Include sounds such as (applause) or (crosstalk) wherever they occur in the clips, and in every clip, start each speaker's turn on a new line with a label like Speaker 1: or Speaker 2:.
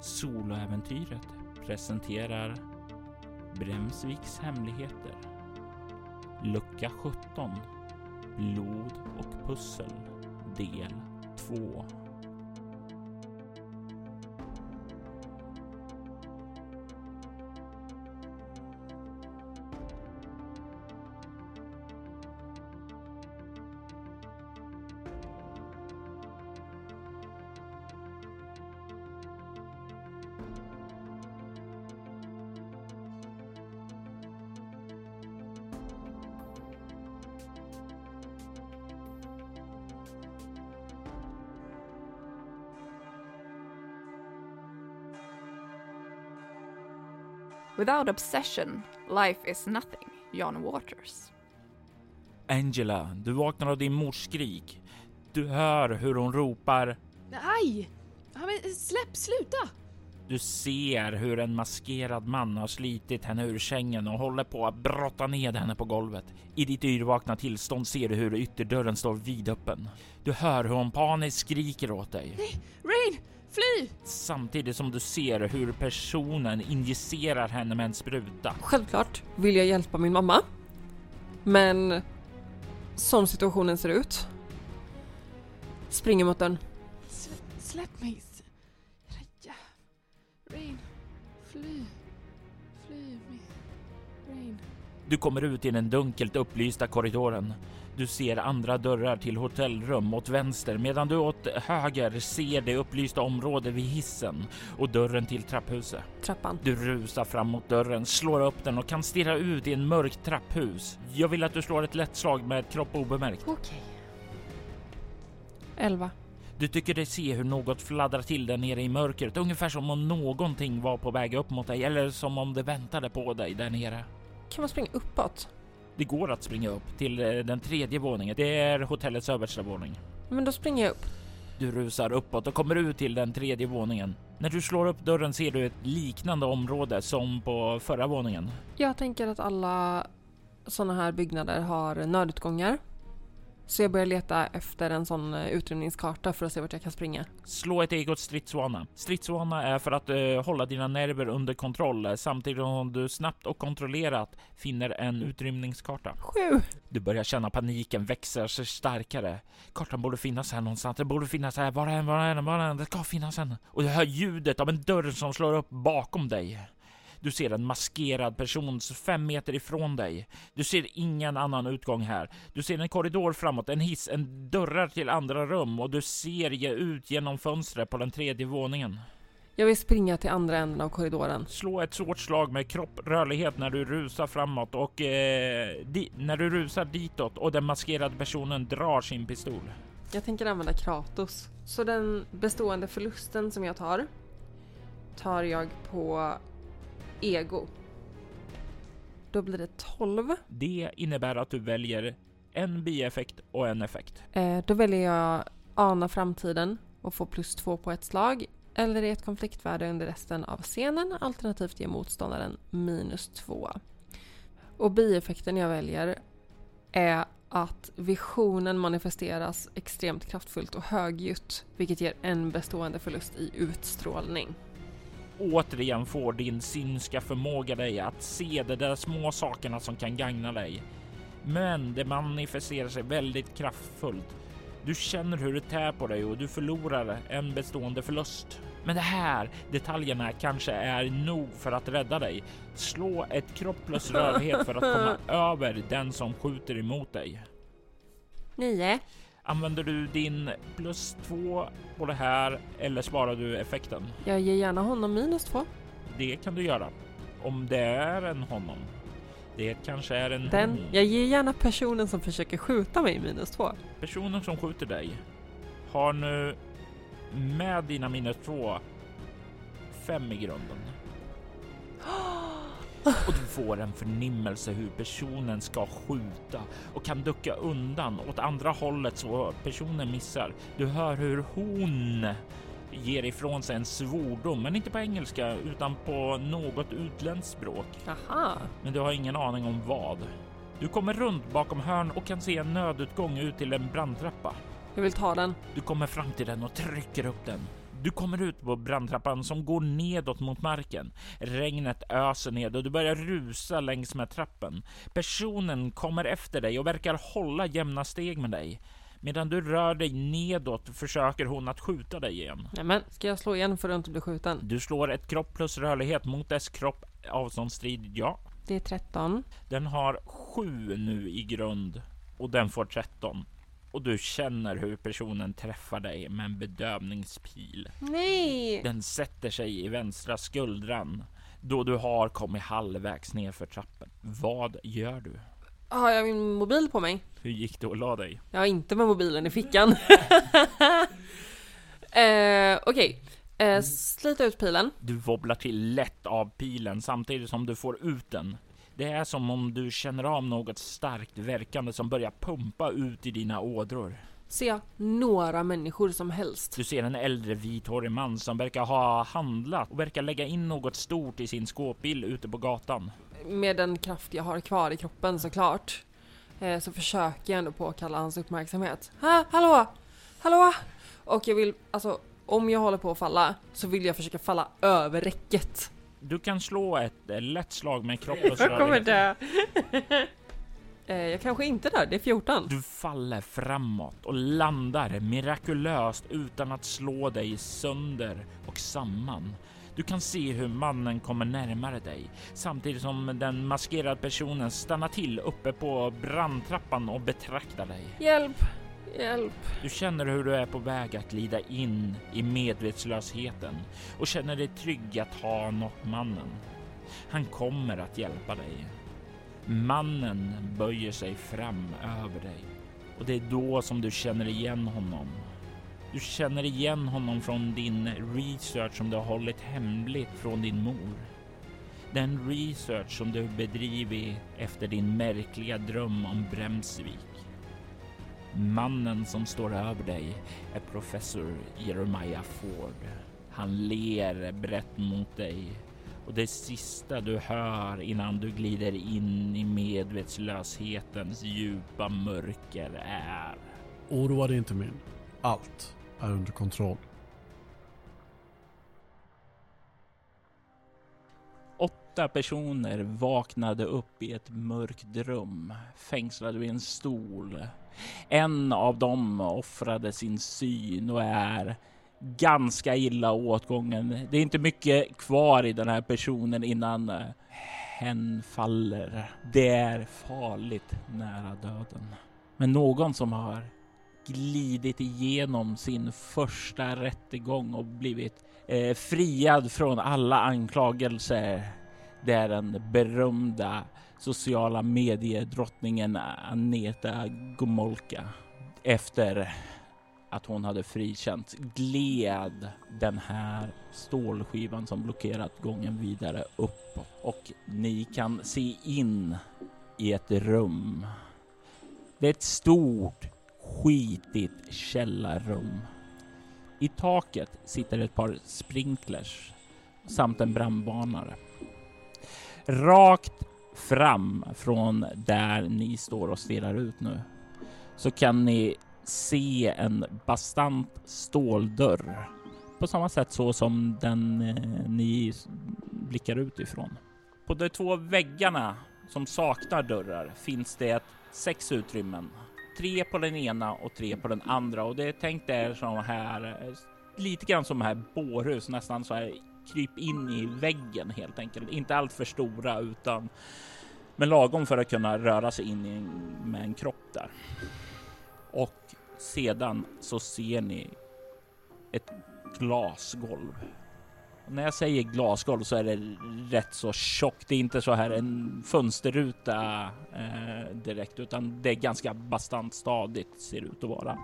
Speaker 1: Soloäventyret presenterar Bremsviks hemligheter. Lucka 17. Blod och pussel. Del 2.
Speaker 2: Without obsession, life is nothing, John Waters.
Speaker 1: Angela, du vaknar av din mors skrik. Du hör hur hon ropar.
Speaker 3: Aj! Ja, men släpp, sluta!
Speaker 1: Du ser hur en maskerad man har slitit henne ur sängen och håller på att brotta ned henne på golvet. I ditt yrvakna tillstånd ser du hur ytterdörren står vidöppen. Du hör hur hon paniskt skriker åt dig.
Speaker 3: Rain, fly!
Speaker 1: Samtidigt som du ser hur personen injicerar henne med en spruta.
Speaker 4: Självklart vill jag hjälpa min mamma. Men som situationen ser ut springer mot den.
Speaker 3: Sl- släpp mig! S- Raja. Rain, fly. Fly mig. Rain.
Speaker 1: Du kommer ut i den dunkelt upplysta korridoren. Du ser andra dörrar till hotellrum åt vänster medan du åt höger ser det upplysta området vid hissen och dörren till trapphuset.
Speaker 4: Trappan.
Speaker 1: Du rusar fram mot dörren, slår upp den och kan stirra ut i en mörkt trapphus. Jag vill att du slår ett lätt slag med kropp obemärkt.
Speaker 3: Okej.
Speaker 4: 11.
Speaker 1: Du tycker dig se hur något fladdrar till där nere i mörkret, ungefär som om någonting var på väg upp mot dig eller som om det väntade på dig där nere.
Speaker 4: Kan man springa uppåt?
Speaker 1: Det går att springa upp till eh, den tredje våningen. Det är hotellets översta våning.
Speaker 4: Men då springer jag upp.
Speaker 1: Du rusar uppåt och kommer ut till den tredje våningen. När du slår upp dörren ser du ett liknande område som på förra våningen.
Speaker 4: Jag tänker att alla sådana här byggnader har nödutgångar. Så jag börjar leta efter en sån eh, utrymningskarta för att se vart jag kan springa.
Speaker 1: Slå ett eget stridsvana. Stridsvana är för att eh, hålla dina nerver under kontroll eh, samtidigt som du snabbt och kontrollerat finner en utrymningskarta.
Speaker 4: Sju!
Speaker 1: Du börjar känna paniken växa sig starkare. Kartan borde finnas här någonstans. Det borde finnas här. Var är den? Var är den? Var är den? Det ska finnas en. Och du hör ljudet av en dörr som slår upp bakom dig. Du ser en maskerad person så fem meter ifrån dig. Du ser ingen annan utgång här. Du ser en korridor framåt, en hiss, en dörrar till andra rum och du ser ge ut genom fönstret på den tredje våningen.
Speaker 4: Jag vill springa till andra änden av korridoren.
Speaker 1: Slå ett svårt slag med kropp, rörlighet när du rusar framåt och eh, di- när du rusar ditåt och den maskerade personen drar sin pistol.
Speaker 4: Jag tänker använda Kratos. Så den bestående förlusten som jag tar tar jag på ego. Då blir det 12.
Speaker 1: Det innebär att du väljer en bieffekt och en effekt.
Speaker 4: Eh, då väljer jag ana framtiden och få plus två på ett slag. Eller i ett konfliktvärde under resten av scenen alternativt ge motståndaren minus två. Och bieffekten jag väljer är att visionen manifesteras extremt kraftfullt och högljutt vilket ger en bestående förlust i utstrålning.
Speaker 1: Återigen får din synska förmåga dig att se de där små sakerna som kan gagna dig. Men det manifesterar sig väldigt kraftfullt. Du känner hur det tär på dig och du förlorar en bestående förlust. Men det här detaljerna kanske är nog för att rädda dig. Slå ett kropp plus rörlighet för att komma över den som skjuter emot dig.
Speaker 4: Nio.
Speaker 1: Använder du din plus två på det här eller sparar du effekten?
Speaker 4: Jag ger gärna honom minus två.
Speaker 1: Det kan du göra. Om det är en honom. Det kanske är en
Speaker 4: Den.
Speaker 1: hon.
Speaker 4: Jag ger gärna personen som försöker skjuta mig minus två.
Speaker 1: Personen som skjuter dig har nu med dina minus två fem i grunden. Och du får en förnimmelse hur personen ska skjuta och kan ducka undan åt andra hållet så personen missar. Du hör hur hon ger ifrån sig en svordom, men inte på engelska utan på något utländskt språk
Speaker 4: Aha.
Speaker 1: men du har ingen aning om vad. Du kommer runt bakom hörn och kan se en nödutgång ut till en brandtrappa.
Speaker 4: Jag vill ta den.
Speaker 1: Du kommer fram till den och trycker upp den.
Speaker 5: Du kommer ut på brandtrappan som går nedåt mot marken. Regnet öser ned och du börjar rusa längs med trappen. Personen kommer efter dig och verkar hålla jämna steg med dig. Medan du rör dig nedåt försöker hon att skjuta dig igen.
Speaker 4: Nämen, ska jag slå igen för att inte bli skjuten?
Speaker 5: Du slår ett kropp plus rörlighet mot dess kropp avståndsstrid, ja.
Speaker 4: Det är 13.
Speaker 5: Den har 7 nu i grund och den får 13. Och du känner hur personen träffar dig med en bedövningspil.
Speaker 4: Nej!
Speaker 5: Den sätter sig i vänstra skuldran då du har kommit halvvägs ner för trappen. Vad gör du?
Speaker 4: Har jag min mobil på mig?
Speaker 5: Hur gick det att la dig?
Speaker 4: Jag har inte med mobilen i fickan. eh, Okej, eh, slita ut pilen.
Speaker 5: Du wobblar till lätt av pilen samtidigt som du får ut den. Det är som om du känner av något starkt verkande som börjar pumpa ut i dina ådror.
Speaker 4: Ser jag några människor som helst?
Speaker 5: Du ser en äldre vithårig man som verkar ha handlat och verkar lägga in något stort i sin skåpbil ute på gatan.
Speaker 4: Med den kraft jag har kvar i kroppen såklart. Eh, så försöker jag ändå påkalla hans uppmärksamhet. Ha, hallå! Hallå! Och jag vill, alltså om jag håller på att falla så vill jag försöka falla över räcket.
Speaker 5: Du kan slå ett eh, lätt slag med kropp och
Speaker 6: dö.
Speaker 4: Eh, jag kanske inte där, det är 14.
Speaker 5: Du faller framåt och landar mirakulöst utan att slå dig sönder och samman. Du kan se hur mannen kommer närmare dig samtidigt som den maskerade personen stannar till uppe på brandtrappan och betraktar dig.
Speaker 4: Hjälp! Hjälp!
Speaker 5: Du känner hur du är på väg att glida in i medvetslösheten och känner dig trygg att ha nått mannen. Han kommer att hjälpa dig. Mannen böjer sig fram över dig och det är då som du känner igen honom. Du känner igen honom från din research som du har hållit hemligt från din mor. Den research som du bedrivit efter din märkliga dröm om Bremsvik. Mannen som står över dig är professor Jeremiah Ford. Han ler brett mot dig och det sista du hör innan du glider in i medvetslöshetens djupa mörker är
Speaker 7: Oroa dig inte min. Allt är under kontroll.
Speaker 1: Åtta personer vaknade upp i ett mörkt rum, fängslade vid en stol. En av dem offrade sin syn och är ganska illa åtgången. Det är inte mycket kvar i den här personen innan eh, hen faller. Det är farligt nära döden. Men någon som har glidit igenom sin första rättegång och blivit eh, friad från alla anklagelser. Det är den berömda sociala mediedrottningen Aneta Gomolka. Efter att hon hade frikänts gled den här stålskivan som blockerat gången vidare uppåt och ni kan se in i ett rum. Det är ett stort skitigt källarrum. I taket sitter ett par sprinklers samt en brandvarnare. Rakt fram från där ni står och stirrar ut nu så kan ni se en bastant ståldörr på samma sätt så som den eh, ni s- blickar ut ifrån. På de två väggarna som saknar dörrar finns det sex utrymmen tre på den ena och tre på den andra och det är tänkt är som här eh, lite grann som här bårhus nästan så här kryp in i väggen helt enkelt. Inte allt för stora utan men lagom för att kunna röra sig in i, en- med en kropp där. Och sedan så ser ni ett glasgolv. Och när jag säger glasgolv så är det rätt så tjockt. Det är inte så här en fönsterruta eh, direkt utan det är ganska bastant stadigt ser det ut att vara.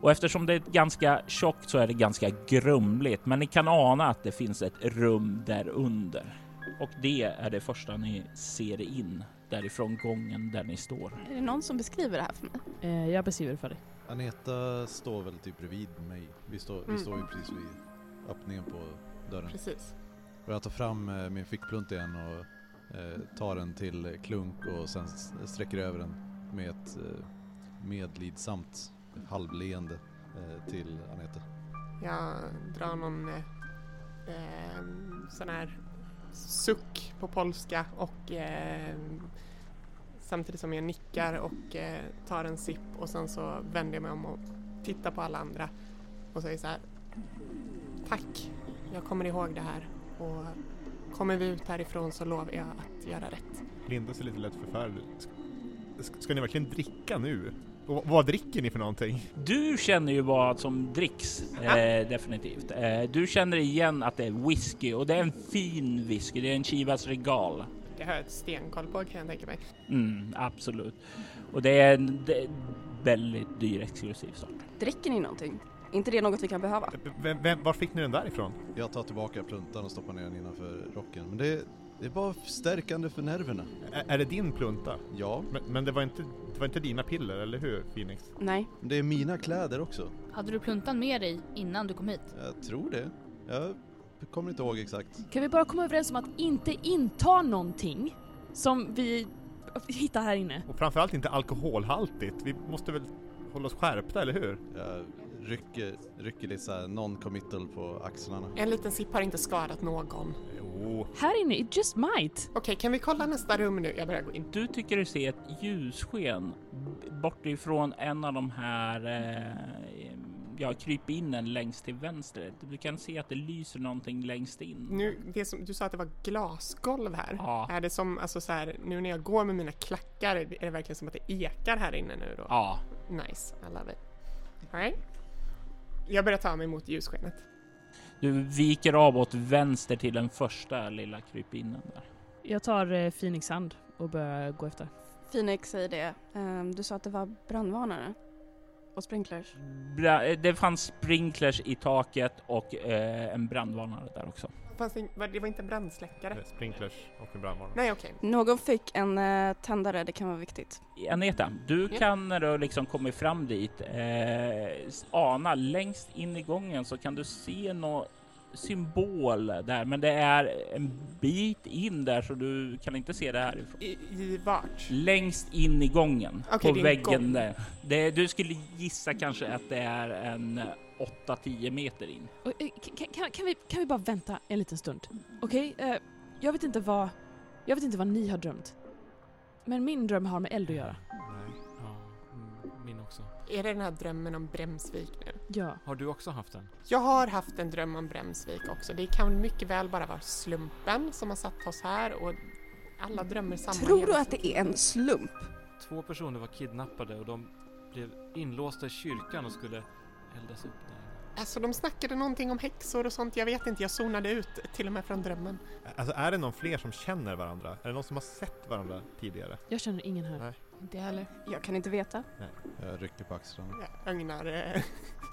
Speaker 1: Och eftersom det är ganska tjockt så är det ganska grumligt. Men ni kan ana att det finns ett rum där under. Och det är det första ni ser in därifrån gången där ni står.
Speaker 8: Är det någon som beskriver det här för mig?
Speaker 6: Eh, jag beskriver för dig.
Speaker 9: Aneta står väl typ bredvid mig. Vi står,
Speaker 10: Mm.
Speaker 9: vi står ju precis vid öppningen på dörren.
Speaker 10: Precis.
Speaker 9: Och jag tar fram eh, min fickplunt igen och eh, tar en till klunk och sen s- sträcker över den med ett eh, medlidsamt halvleende eh, till Aneta.
Speaker 6: Jag drar någon eh, eh, sån här suck på polska och eh, samtidigt som jag nickar och eh, tar en sipp och sen så vänder jag mig om och tittar på alla andra och säger så här. Tack, jag kommer ihåg det här och kommer vi ut härifrån så lovar jag att göra rätt.
Speaker 11: Linda ser lite lätt förfärad ut. Ska- Ska, ska ni verkligen dricka nu? Och vad- vad dricker ni för någonting?
Speaker 1: Du känner ju vad som dricks, eh, definitivt. Eh, du känner igen att det är whisky och det är en fin whisky. Det är en Chivas Regal.
Speaker 6: Det har jag ett stenkoll på kan jag tänka mig.
Speaker 1: Mm, absolut. Och det är en det är en väldigt dyr exklusiv sort.
Speaker 2: Dricker ni någonting? Är inte det något vi kan behöva?
Speaker 11: V- Vem, vem, var fick ni den där ifrån?
Speaker 9: Jag tar tillbaka pluntan och stoppar ner den innanför rocken. Men det, det är bara stärkande för nerverna.
Speaker 11: Ä- är det din plunta?
Speaker 9: Ja,
Speaker 11: Men, men det, var inte, det var inte dina piller, eller hur Phoenix?
Speaker 2: Nej.
Speaker 9: men det är mina kläder också.
Speaker 12: Hade du pluntan med dig innan du kom hit?
Speaker 9: Jag tror det. Jag kommer inte ihåg exakt.
Speaker 3: Kan vi bara komma överens om att inte inta någonting som vi hittar här inne?
Speaker 11: Och framförallt inte alkoholhaltigt. Vi måste väl hålla oss skärpta, eller hur?
Speaker 9: Jag rycker, rycker lite såhär non-committal på axlarna.
Speaker 6: En liten sipp har inte skadat någon.
Speaker 11: Jo.
Speaker 3: Här inne, it just might.
Speaker 6: Okej, kan vi kolla nästa rum nu? Jag börjar gå in.
Speaker 1: Du tycker du ser ett ljussken b- bortifrån en av de här eh, ja, krypinnen längst till vänster. Du kan se att det lyser någonting längst in.
Speaker 6: Nu, det som, du sa att det var glasgolv här.
Speaker 1: Ja.
Speaker 6: Är det som, alltså så här, nu när jag går med mina klackar, är det verkligen som att det ekar här inne nu då?
Speaker 1: Ja,
Speaker 6: Nice, I love it. All right. Jag börjar ta mig mot ljusskenet.
Speaker 1: du viker av åt vänster till den första lilla krypinnen där.
Speaker 3: Jag tar eh, Phoenix hand och börjar gå efter.
Speaker 2: Phoenix säger det. Ehm, Du sa att det var brandvarnare och sprinklers.
Speaker 1: Bra, eh, det fanns sprinklers i taket och eh, en brandvarnare där också.
Speaker 6: Fanns det, var, det var inte en brandsläckare?
Speaker 11: Eh, Sprinklers och en brandvarnare.
Speaker 6: Nej, okej.
Speaker 2: Någon fick en eh, tändare, det kan vara viktigt.
Speaker 1: Aneta, du
Speaker 6: Ja.
Speaker 1: kan när du liksom kommer fram dit eh, ana längst in i gången så kan du se någon symbol där, men det är en bit in där så du kan inte se det härifrån.
Speaker 6: I, I vart?
Speaker 1: Längst in i gången
Speaker 6: Okej, det
Speaker 1: på
Speaker 6: är en
Speaker 1: väggen
Speaker 6: gång.
Speaker 1: där. Det, du skulle gissa kanske att det är en 8-10 meter in.
Speaker 3: Och, eh, Kan, kan, kan, vi, kan vi bara vänta en liten stund? Okej, eh, jag vet inte vad... Jag vet inte vad ni har drömt. Men min dröm har med eld att göra.
Speaker 13: Nej. Ja, mm, min också.
Speaker 6: Är det den här drömmen om Bremsvik nu?
Speaker 3: Ja.
Speaker 13: Har du också haft den?
Speaker 6: Jag har haft en dröm om Bremsvik också. Det kan mycket väl bara vara slumpen som har satt oss här och alla drömmer sammanlever.
Speaker 2: Tror du att det är en slump?
Speaker 13: Två personer var kidnappade och de blev inlåsta i kyrkan och skulle eldas upp där.
Speaker 6: Alltså de snackade någonting om häxor och sånt, jag vet inte, jag zonade ut till och med från drömmen.
Speaker 11: Alltså är det någon fler som känner varandra? Är det någon som har sett varandra tidigare?
Speaker 3: Jag känner ingen här.
Speaker 12: Inte heller.
Speaker 2: Jag kan inte veta.
Speaker 9: Jag rycker på axlarna.
Speaker 6: Jag ögnar eh,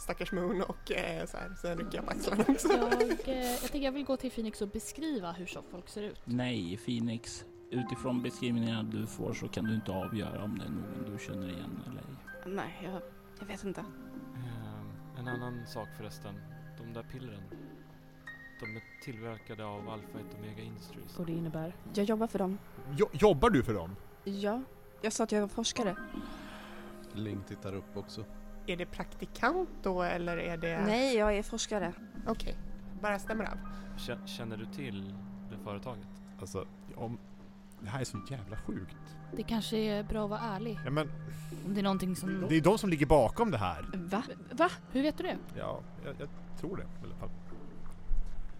Speaker 6: stackars Moon och eh, så här, sen rycker jag på axlarna också.
Speaker 12: Jag, eh, jag tänker jag vill gå till Phoenix och beskriva hur så folk ser ut.
Speaker 1: Nej, Phoenix. Utifrån beskrivningarna du får så kan du inte avgöra om det är någon du känner igen eller ej.
Speaker 2: Nej, jag, jag vet inte.
Speaker 13: Ehm, En annan sak förresten. De där pillren. De är tillverkade av Alpha 1 Omega Industries.
Speaker 3: Och det innebär...
Speaker 2: Jag jobbar för dem.
Speaker 11: Jo, jobbar du för dem?
Speaker 2: Ja. Jag sa att jag var forskare.
Speaker 9: Ling tittar upp också.
Speaker 6: Är det praktikant då eller är det...
Speaker 2: Nej, jag är forskare.
Speaker 6: Okej, bara stämmer av.
Speaker 13: Kä- Känner du till det företaget?
Speaker 11: Alltså, om... Det här är så jävla sjukt.
Speaker 12: Det kanske är bra att vara ärlig.
Speaker 11: Ja, men
Speaker 12: Om det är någonting som...
Speaker 11: det är ju de som ligger bakom det här.
Speaker 3: Va?
Speaker 12: Hur vet du det?
Speaker 11: Ja, jag, jag tror det i alla fall.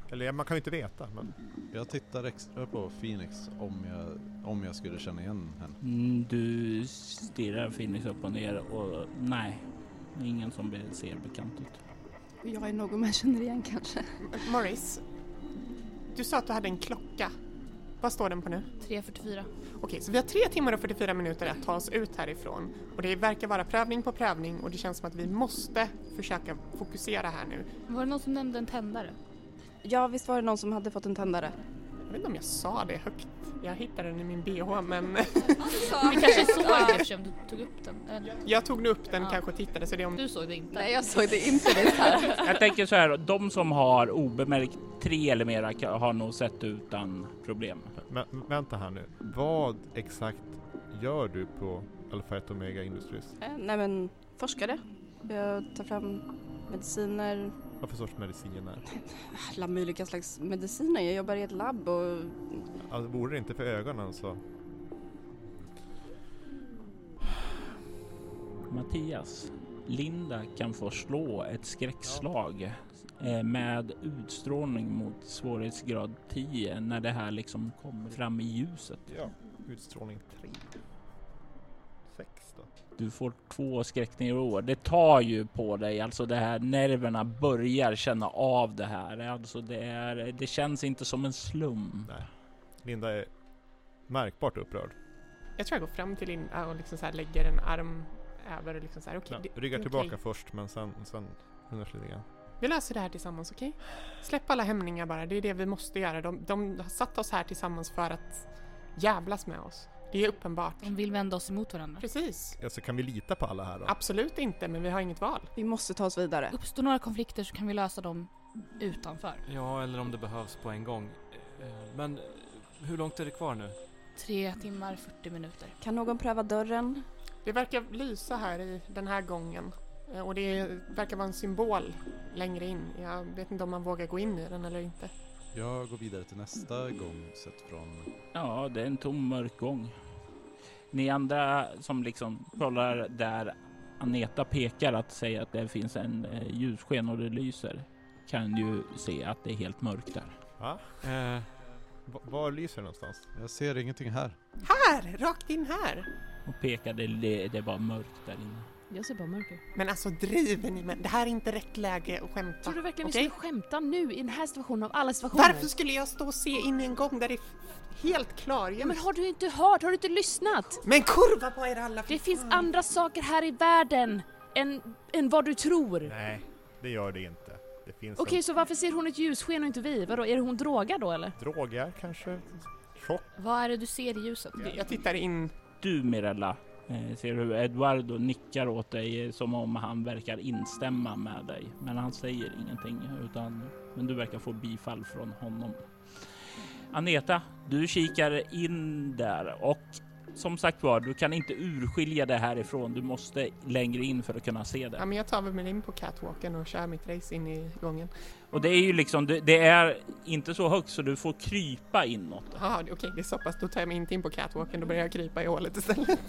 Speaker 11: Eller ja, man kan ju inte veta. Men...
Speaker 9: Jag tittar extra på Phoenix om jag, om jag skulle känna igen henne.
Speaker 1: Mm, Du stirrar Phoenix upp och ner och nej, ingen som be- ser bekant ut.
Speaker 2: Jag är någon man känner igen (laughs) kanske.
Speaker 6: Morris, du sa att du hade en klocka. Vad står den på nu?
Speaker 12: 3.44.
Speaker 6: Okej, så vi har tre timmar och 44 minuter att ta oss ut härifrån. Och det verkar vara prövning på prövning och det känns som att vi måste försöka fokusera här nu.
Speaker 12: Var det någon som nämnde en tändare?
Speaker 2: Ja, visst var det någon som hade fått en tändare?
Speaker 6: Jag vet inte om jag sa det högt. Jag hittade den i min bh men (laughs)
Speaker 12: Vi kanske såg den eftersom du tog upp den. Eller,
Speaker 6: jag tog nog upp den
Speaker 12: Ja.
Speaker 6: kanske och tittade så det är om...
Speaker 12: du såg det inte.
Speaker 2: Nej, jag såg det inte det här.
Speaker 1: Jag tänker så här, de som har obemärkt tre eller mera ka- har nog sett utan problem.
Speaker 11: Men vänta här nu. Vad exakt gör du på Alpha 1 Omega Industries?
Speaker 2: Eh, Nej men, forskare. Jag tar fram mediciner,
Speaker 11: Vad för sorts mediciner?
Speaker 2: Alla möjliga slags mediciner. Jag jobbar i ett labb och...
Speaker 11: Alltså, vore det inte för ögonen så...
Speaker 1: Mattias, Linda kan få slå ett skräckslag eh, med utstrålning mot svårighetsgrad 10 när det här liksom kommer fram i ljuset.
Speaker 11: Ja, utstrålning 3. 6 då.
Speaker 1: Du får två skräcknivåer. Det tar ju på dig, alltså det här nerverna börjar känna av det här. Alltså det, är, det känns inte som en slum.
Speaker 11: Nej. Linda är märkbart upprörd.
Speaker 6: (laughs) Jag tror jag går fram till Linda och liksom så här lägger en arm över och liksom så här, okej.
Speaker 11: Ja,
Speaker 6: det-
Speaker 11: ryggar
Speaker 6: det är
Speaker 11: tillbaka
Speaker 6: okej.
Speaker 11: först men sen, sen hörs lite grann.
Speaker 6: Vi löser det här tillsammans, okej? Släpp alla hämningar bara, det är det vi måste göra. De, de har satt oss här tillsammans för att jävlas med oss. Det är uppenbart.
Speaker 12: De vill vända oss emot varandra.
Speaker 6: Precis.
Speaker 11: Alltså kan vi lita på alla här då?
Speaker 6: Absolut inte, men vi har inget val.
Speaker 2: Vi måste ta oss vidare.
Speaker 12: Uppstår några konflikter så kan vi lösa dem utanför.
Speaker 13: Ja, eller om det behövs på en gång. Eh, Men eh, hur långt är det kvar nu?
Speaker 12: Tre timmar, 40 minuter.
Speaker 2: Kan någon pröva dörren?
Speaker 6: Det verkar lysa här i den här gången. Eh, Och det verkar vara en symbol längre in. Jag vet inte om man vågar gå in i den eller inte.
Speaker 9: Jag går vidare till nästa gång sett från...
Speaker 1: Ja, det är en tom mörk gång. Ni andra som liksom kollar där Aneta pekar att säga att det finns en eh, ljussken och det lyser kan ju se att det är helt mörkt där.
Speaker 11: Va? Eh. Va- Var lyser det någonstans?
Speaker 9: Jag ser ingenting här.
Speaker 6: Här! Rakt in här!
Speaker 1: Och pekade, det, det var mörkt där inne.
Speaker 3: Jag ser bara mörker.
Speaker 6: Men alltså driver ni med? Det här är inte rätt läge att skämta.
Speaker 3: Tror du verkligen
Speaker 6: okej?
Speaker 3: vi skulle skämta nu i den här situationen av alla situationer?
Speaker 6: Varför skulle jag stå och se in i en gång där det är f- helt klar?
Speaker 3: Ja, men har du inte hört? Har du inte lyssnat?
Speaker 6: Men kurva på er alla! för
Speaker 3: Det finns
Speaker 6: fan.
Speaker 3: andra saker här i världen än, än vad du tror. Okej,
Speaker 11: Nej, det gör det inte. Det finns en
Speaker 3: så varför ser hon ett ljussken och inte vi? Vadå, är hon drogad då eller?
Speaker 11: droger kanske? Chock?
Speaker 12: Vad är det du ser i ljuset?
Speaker 6: Jag tittar in.
Speaker 1: Du Mirella, eh, ser hur Eduardo nickar åt dig eh, som om han verkar instämma med dig. Men han säger ingenting utan men du verkar få bifall från honom. Aneta, du kikar in där och som sagt var, du kan inte urskilja det härifrån. Du måste längre in för att kunna se det.
Speaker 6: Ja, men jag tar väl mig in på catwalken och kör mitt race in i gången.
Speaker 1: Och det är ju liksom, det- det är inte så högt så du får krypa inåt.
Speaker 6: Jaha, okej, det är så pass. Då tar jag mig inte in på catwalken, då börjar jag krypa i hålet istället.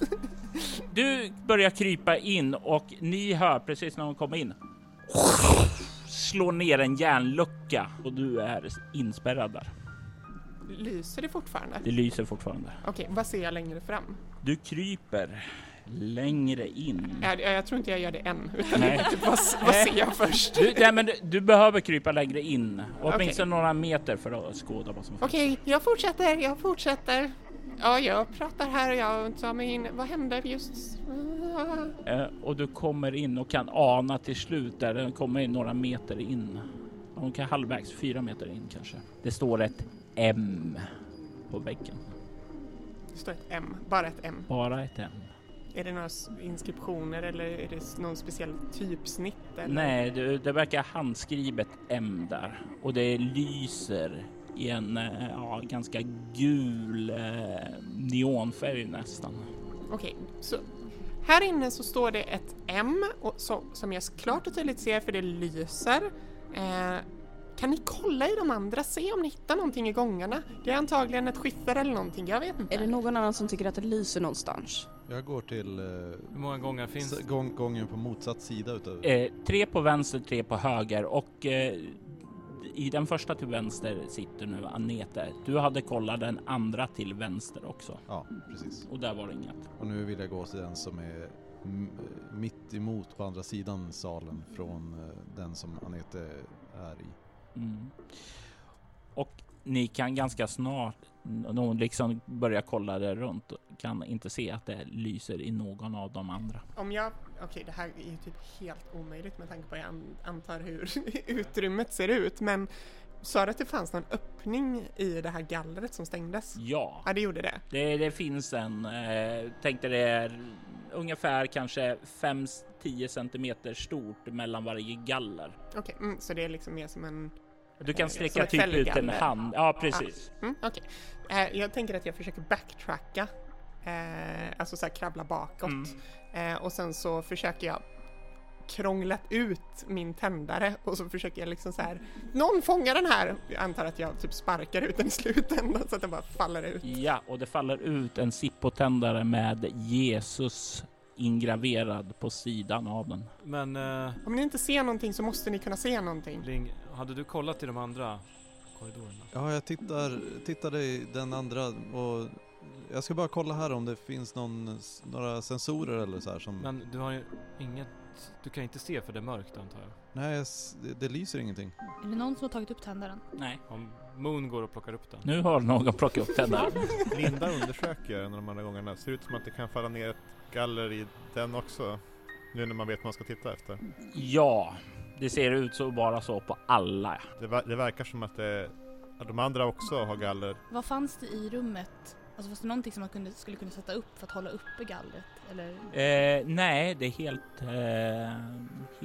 Speaker 1: Du börjar krypa in och ni hör precis när hon kommer in slå ner en järnlucka och du är inspärrad där.
Speaker 6: Lyser det fortfarande?
Speaker 1: Det lyser fortfarande.
Speaker 6: Okej, vad ser jag längre fram?
Speaker 1: Du kryper längre in.
Speaker 6: Jag, jag tror inte jag gör det än, utan
Speaker 1: Nej.
Speaker 6: typ, vad, vad ser jag först?
Speaker 1: Du, nej, men du, du behöver krypa längre in,
Speaker 6: Okej.
Speaker 1: åtminstone några meter för att skåda vad som finns.
Speaker 6: Okej, jag fortsätter, jag fortsätter. Ja, jag pratar här och jag tar mig in. Vad händer just...
Speaker 1: Eh, och du kommer in och kan ana till slut där den kommer in några meter in. Hon kan halvvägs, fyra meter in kanske. Det står ett M på väggen.
Speaker 6: Det står ett M, bara ett M.
Speaker 1: Bara ett M.
Speaker 6: Är det några s- inskriptioner eller är det s- någon speciell typsnitt? Eller?
Speaker 1: Nej, det, det verkar handskrivet M där och det lyser i en eh, ja, ganska gul eh, neonfärg nästan.
Speaker 6: Okej, så här inne så står det ett M och så, som jag klart och tydligt ser för det lyser. Eh, kan ni kolla i de andra, se om ni hittar någonting i gångarna? Det är antagligen ett skiffer eller någonting, jag vet inte.
Speaker 2: Är det någon annan som tycker att det lyser någonstans?
Speaker 9: Jag går till... eh, Hur
Speaker 13: många gånger finns det?
Speaker 9: gång, Gången på motsatt sida utav...
Speaker 1: Eh, tre på vänster, tre på höger och eh, i den första till vänster sitter nu Anete. Du hade kollat den andra till vänster också.
Speaker 9: Ja, precis.
Speaker 1: Och där var det inget.
Speaker 9: Och nu vill jag gå till den som är m- mitt emot på andra sidan salen från eh, den som Anette är i.
Speaker 1: Mm. Och ni kan ganska snart, när hon liksom börjar kolla det runt, och kan inte se att det lyser i någon av de andra.
Speaker 6: Om jag... Okej, det här är ju typ helt omöjligt med tanke på jag an- antar hur (laughs) utrymmet ser ut, men sa du att det fanns någon öppning i det här gallret som stängdes?
Speaker 1: Ja,
Speaker 6: Ja, det gjorde det.
Speaker 1: det, det finns en, eh, tänkte det är ungefär kanske 5-10 centimeter stort mellan varje galler.
Speaker 6: Okej, mm, så det är liksom mer som en...
Speaker 1: Du kan
Speaker 6: eh,
Speaker 1: sträcka
Speaker 6: som ett
Speaker 1: typ ut en
Speaker 6: fällgaller.
Speaker 1: hand. Ja, precis.
Speaker 6: Ah, mm, Okej. Eh, jag tänker att jag försöker backtracka.
Speaker 1: Mm.
Speaker 6: Eh, alltså så här krabbla bakåt. Eh, och sen så försöker jag krånglat ut min tändare och så försöker jag liksom så här. någon fångar den här! Jag antar att jag typ sparkar ut den i slutändan så att den bara faller ut.
Speaker 1: Ja, och det faller ut en sippotändare med Jesus ingraverad på sidan av den.
Speaker 13: Men eh,
Speaker 6: Om ni inte ser någonting så måste ni kunna se någonting.
Speaker 13: Ling, hade du kollat i de andra korridorerna?
Speaker 9: Ja, jag tittar, tittade i den andra och jag ska bara kolla här om det finns någon, några sensorer eller så här som...
Speaker 13: Men du har ju inget... Du kan inte se för det är mörkt antar jag?
Speaker 9: Nej, jag s- det, det lyser ingenting.
Speaker 12: Är det någon som har tagit upp tändaren?
Speaker 1: Nej.
Speaker 13: Om Moon går och plockar upp den.
Speaker 1: Nu har någon plockat upp den här.
Speaker 11: (laughs) Linda undersöker en av de andra gångerna. Ser ut som att det kan falla ner ett galler i den också. Nu när man vet vad man ska titta efter.
Speaker 1: Ja, det ser ut så bara så på alla.
Speaker 11: Det, ver- det verkar som att, det, att de andra också har galler.
Speaker 12: Vad fanns det i rummet? Alltså fanns det någonting som man kunde, skulle kunna sätta upp för att hålla uppe gallret? Eller?
Speaker 1: Eh, nej, det är helt, eh,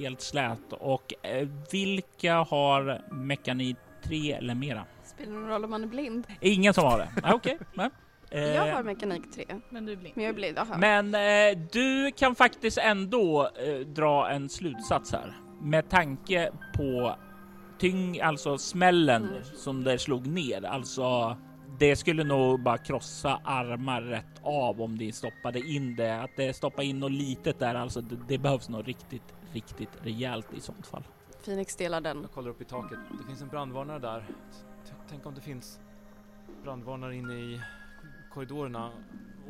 Speaker 1: helt slät. Och eh, vilka har mekanik 3 eller mera?
Speaker 2: Spelar någon roll om man är blind?
Speaker 1: Ingen som har det? Nej, Okej. nej. Eh,
Speaker 2: Jag har mekanik 3.
Speaker 12: Men du är blind.
Speaker 2: Men jag är blind, aha.
Speaker 1: Men eh, du kan faktiskt ändå eh, dra en slutsats här med tanke på tyng, alltså smällen som det slog ner. Alltså, det skulle nog bara krossa armar rätt av om det stoppade in det. Att det stoppar in något litet där, alltså det, det behövs något riktigt, riktigt rejält i sånt fall.
Speaker 2: Phoenix delar den.
Speaker 13: Jag kollar upp i taket. Det finns en brandvarnare där. T- Tänk om det finns brandvarnare inne i korridorerna.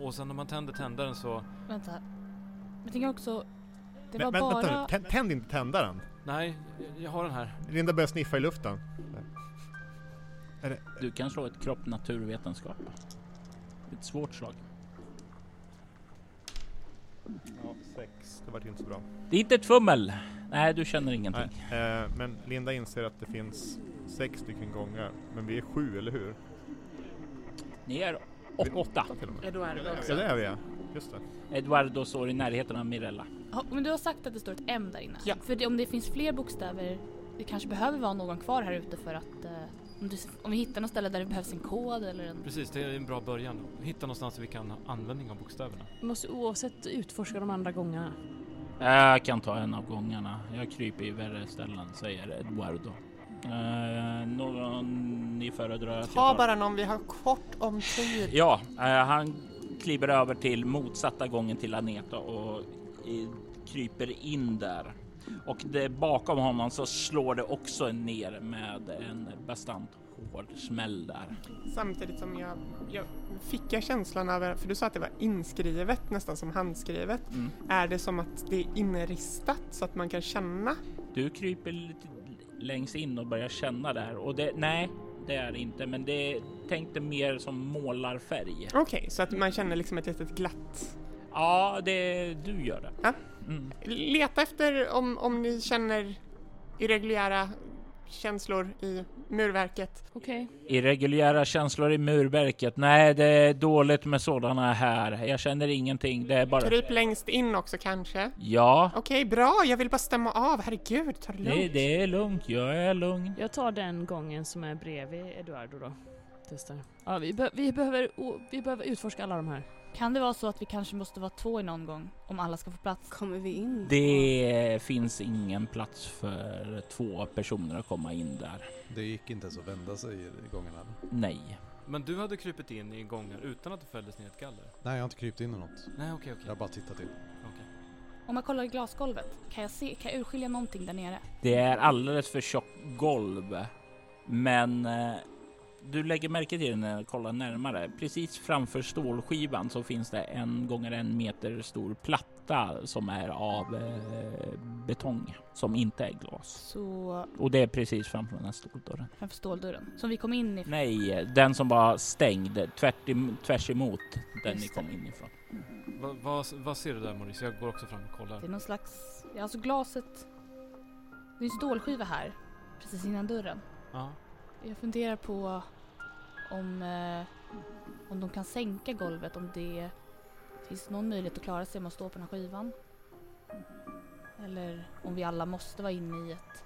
Speaker 13: Och sen när man tänder tändaren så...
Speaker 12: Vänta. Jag tänker också... Det
Speaker 11: Men-
Speaker 12: var
Speaker 11: men
Speaker 12: bara...
Speaker 11: vänta nu, Tänd- tänd inte tändaren!
Speaker 13: Nej, jag- jag har den här.
Speaker 11: Linda börjar sniffa i luften.
Speaker 1: Du kan slå ett kropp naturvetenskap. Ett svårt slag.
Speaker 11: Ja, sex. Det vart inte så bra.
Speaker 1: Det är inte ett fummel. Nej, du känner ingenting.
Speaker 11: Nej, eh, men Linda inser att det finns sex stycken gångar. Men vi är sju, eller hur?
Speaker 1: Ni är
Speaker 11: Vi är
Speaker 1: åtta.
Speaker 11: till och med.
Speaker 10: Eduardo
Speaker 11: Ja, det
Speaker 10: också.
Speaker 11: är vi ja. Just det.
Speaker 1: Eduardo står i närheten av Mirella.
Speaker 12: Ja, men du har sagt att det står ett M där inne.
Speaker 6: Ja.
Speaker 12: För det, om det finns fler bokstäver, det kanske behöver vara någon kvar här ute för att eh, om, du, om vi hittar något ställe där det behövs en kod eller en...
Speaker 13: Precis, det är en bra början. Hitta någonstans där vi kan ha användning av bokstäverna.
Speaker 3: Vi måste oavsett utforska de andra gångarna.
Speaker 1: Jag kan ta en av gångarna. Jag kryper i värre ställen, säger Eduardo. Eh, någon ni föredrar att jag
Speaker 6: Ta
Speaker 1: tar?
Speaker 6: bara någon, vi har kort om tid.
Speaker 1: Ja, eh, han kliver över till motsatta gången till Aneta och i, kryper in där. Och det, bakom honom så slår det också ner med en bastant hård smäll där.
Speaker 6: Samtidigt som jag, jag fick jag känslan av, för du sa att det var inskrivet, nästan som handskrivet.
Speaker 1: Mm.
Speaker 6: Är det som att det är inristat så att man kan känna?
Speaker 1: Du kryper lite längst in och börjar känna där och det, nej, det är det inte, men det tänkte mer som målarfärg.
Speaker 6: Okej, så att man känner liksom ett litet glatt.
Speaker 1: Ja, det, du gör det.
Speaker 6: Ja.
Speaker 1: Mm.
Speaker 6: Leta efter om, om ni känner irreguljära känslor i murverket.
Speaker 3: Okej.
Speaker 1: Irreguljära känslor i murverket. Nej, det är dåligt med sådana här. Jag känner ingenting. Det är bara...
Speaker 6: Kryp längst in också kanske.
Speaker 1: Ja,
Speaker 6: Okej, bra. Jag vill bara stämma av. Herregud, ta det
Speaker 1: det,
Speaker 6: lugnt.
Speaker 1: det är lugnt. Jag är lugn.
Speaker 3: Jag tar den gången som är bredvid Eduardo då. Testar. Ja, vi, be- vi, behöver, o- vi behöver utforska alla de här.
Speaker 12: Kan det vara så att vi kanske måste vara två i någon gång om alla ska få plats?
Speaker 2: Kommer vi in?
Speaker 1: Det finns ingen plats för två personer att komma in där.
Speaker 9: Det gick inte ens att vända sig i gången här.
Speaker 1: Nej.
Speaker 13: Men du hade krupit in i gångar utan att det fälldes ner ett galler?
Speaker 9: Nej, jag har inte krypt in i något.
Speaker 13: Nej, okej, okej.
Speaker 9: Jag har bara tittat in.
Speaker 12: Om man kollar i glasgolvet, kan jag, se, kan jag urskilja någonting där nere?
Speaker 1: Det är alldeles för tjockt golv. Men eh, du lägger märke till det när du kollar närmare. Precis framför stålskivan så finns det en gånger en meter stor platta som är av eh, betong som inte är glas.
Speaker 12: Så
Speaker 1: Och det är precis framför den här ståldörren.
Speaker 12: framför ståldörren som vi kom in i.
Speaker 1: Nej, den som var stängd tvärt em, tvärs emot den
Speaker 12: Just
Speaker 1: ni kom
Speaker 12: det.
Speaker 1: in ifrån.
Speaker 13: Va, va, vad ser du där Maurice? Jag går också fram och kollar.
Speaker 12: Det är någon slags, ja, alltså glaset. Det är en stålskiva här precis innan dörren.
Speaker 13: Ja.
Speaker 12: Jag funderar på om, eh, om de kan sänka golvet, om det finns någon möjlighet att klara sig om att stå på den här skivan. Eller om vi alla måste vara inne i ett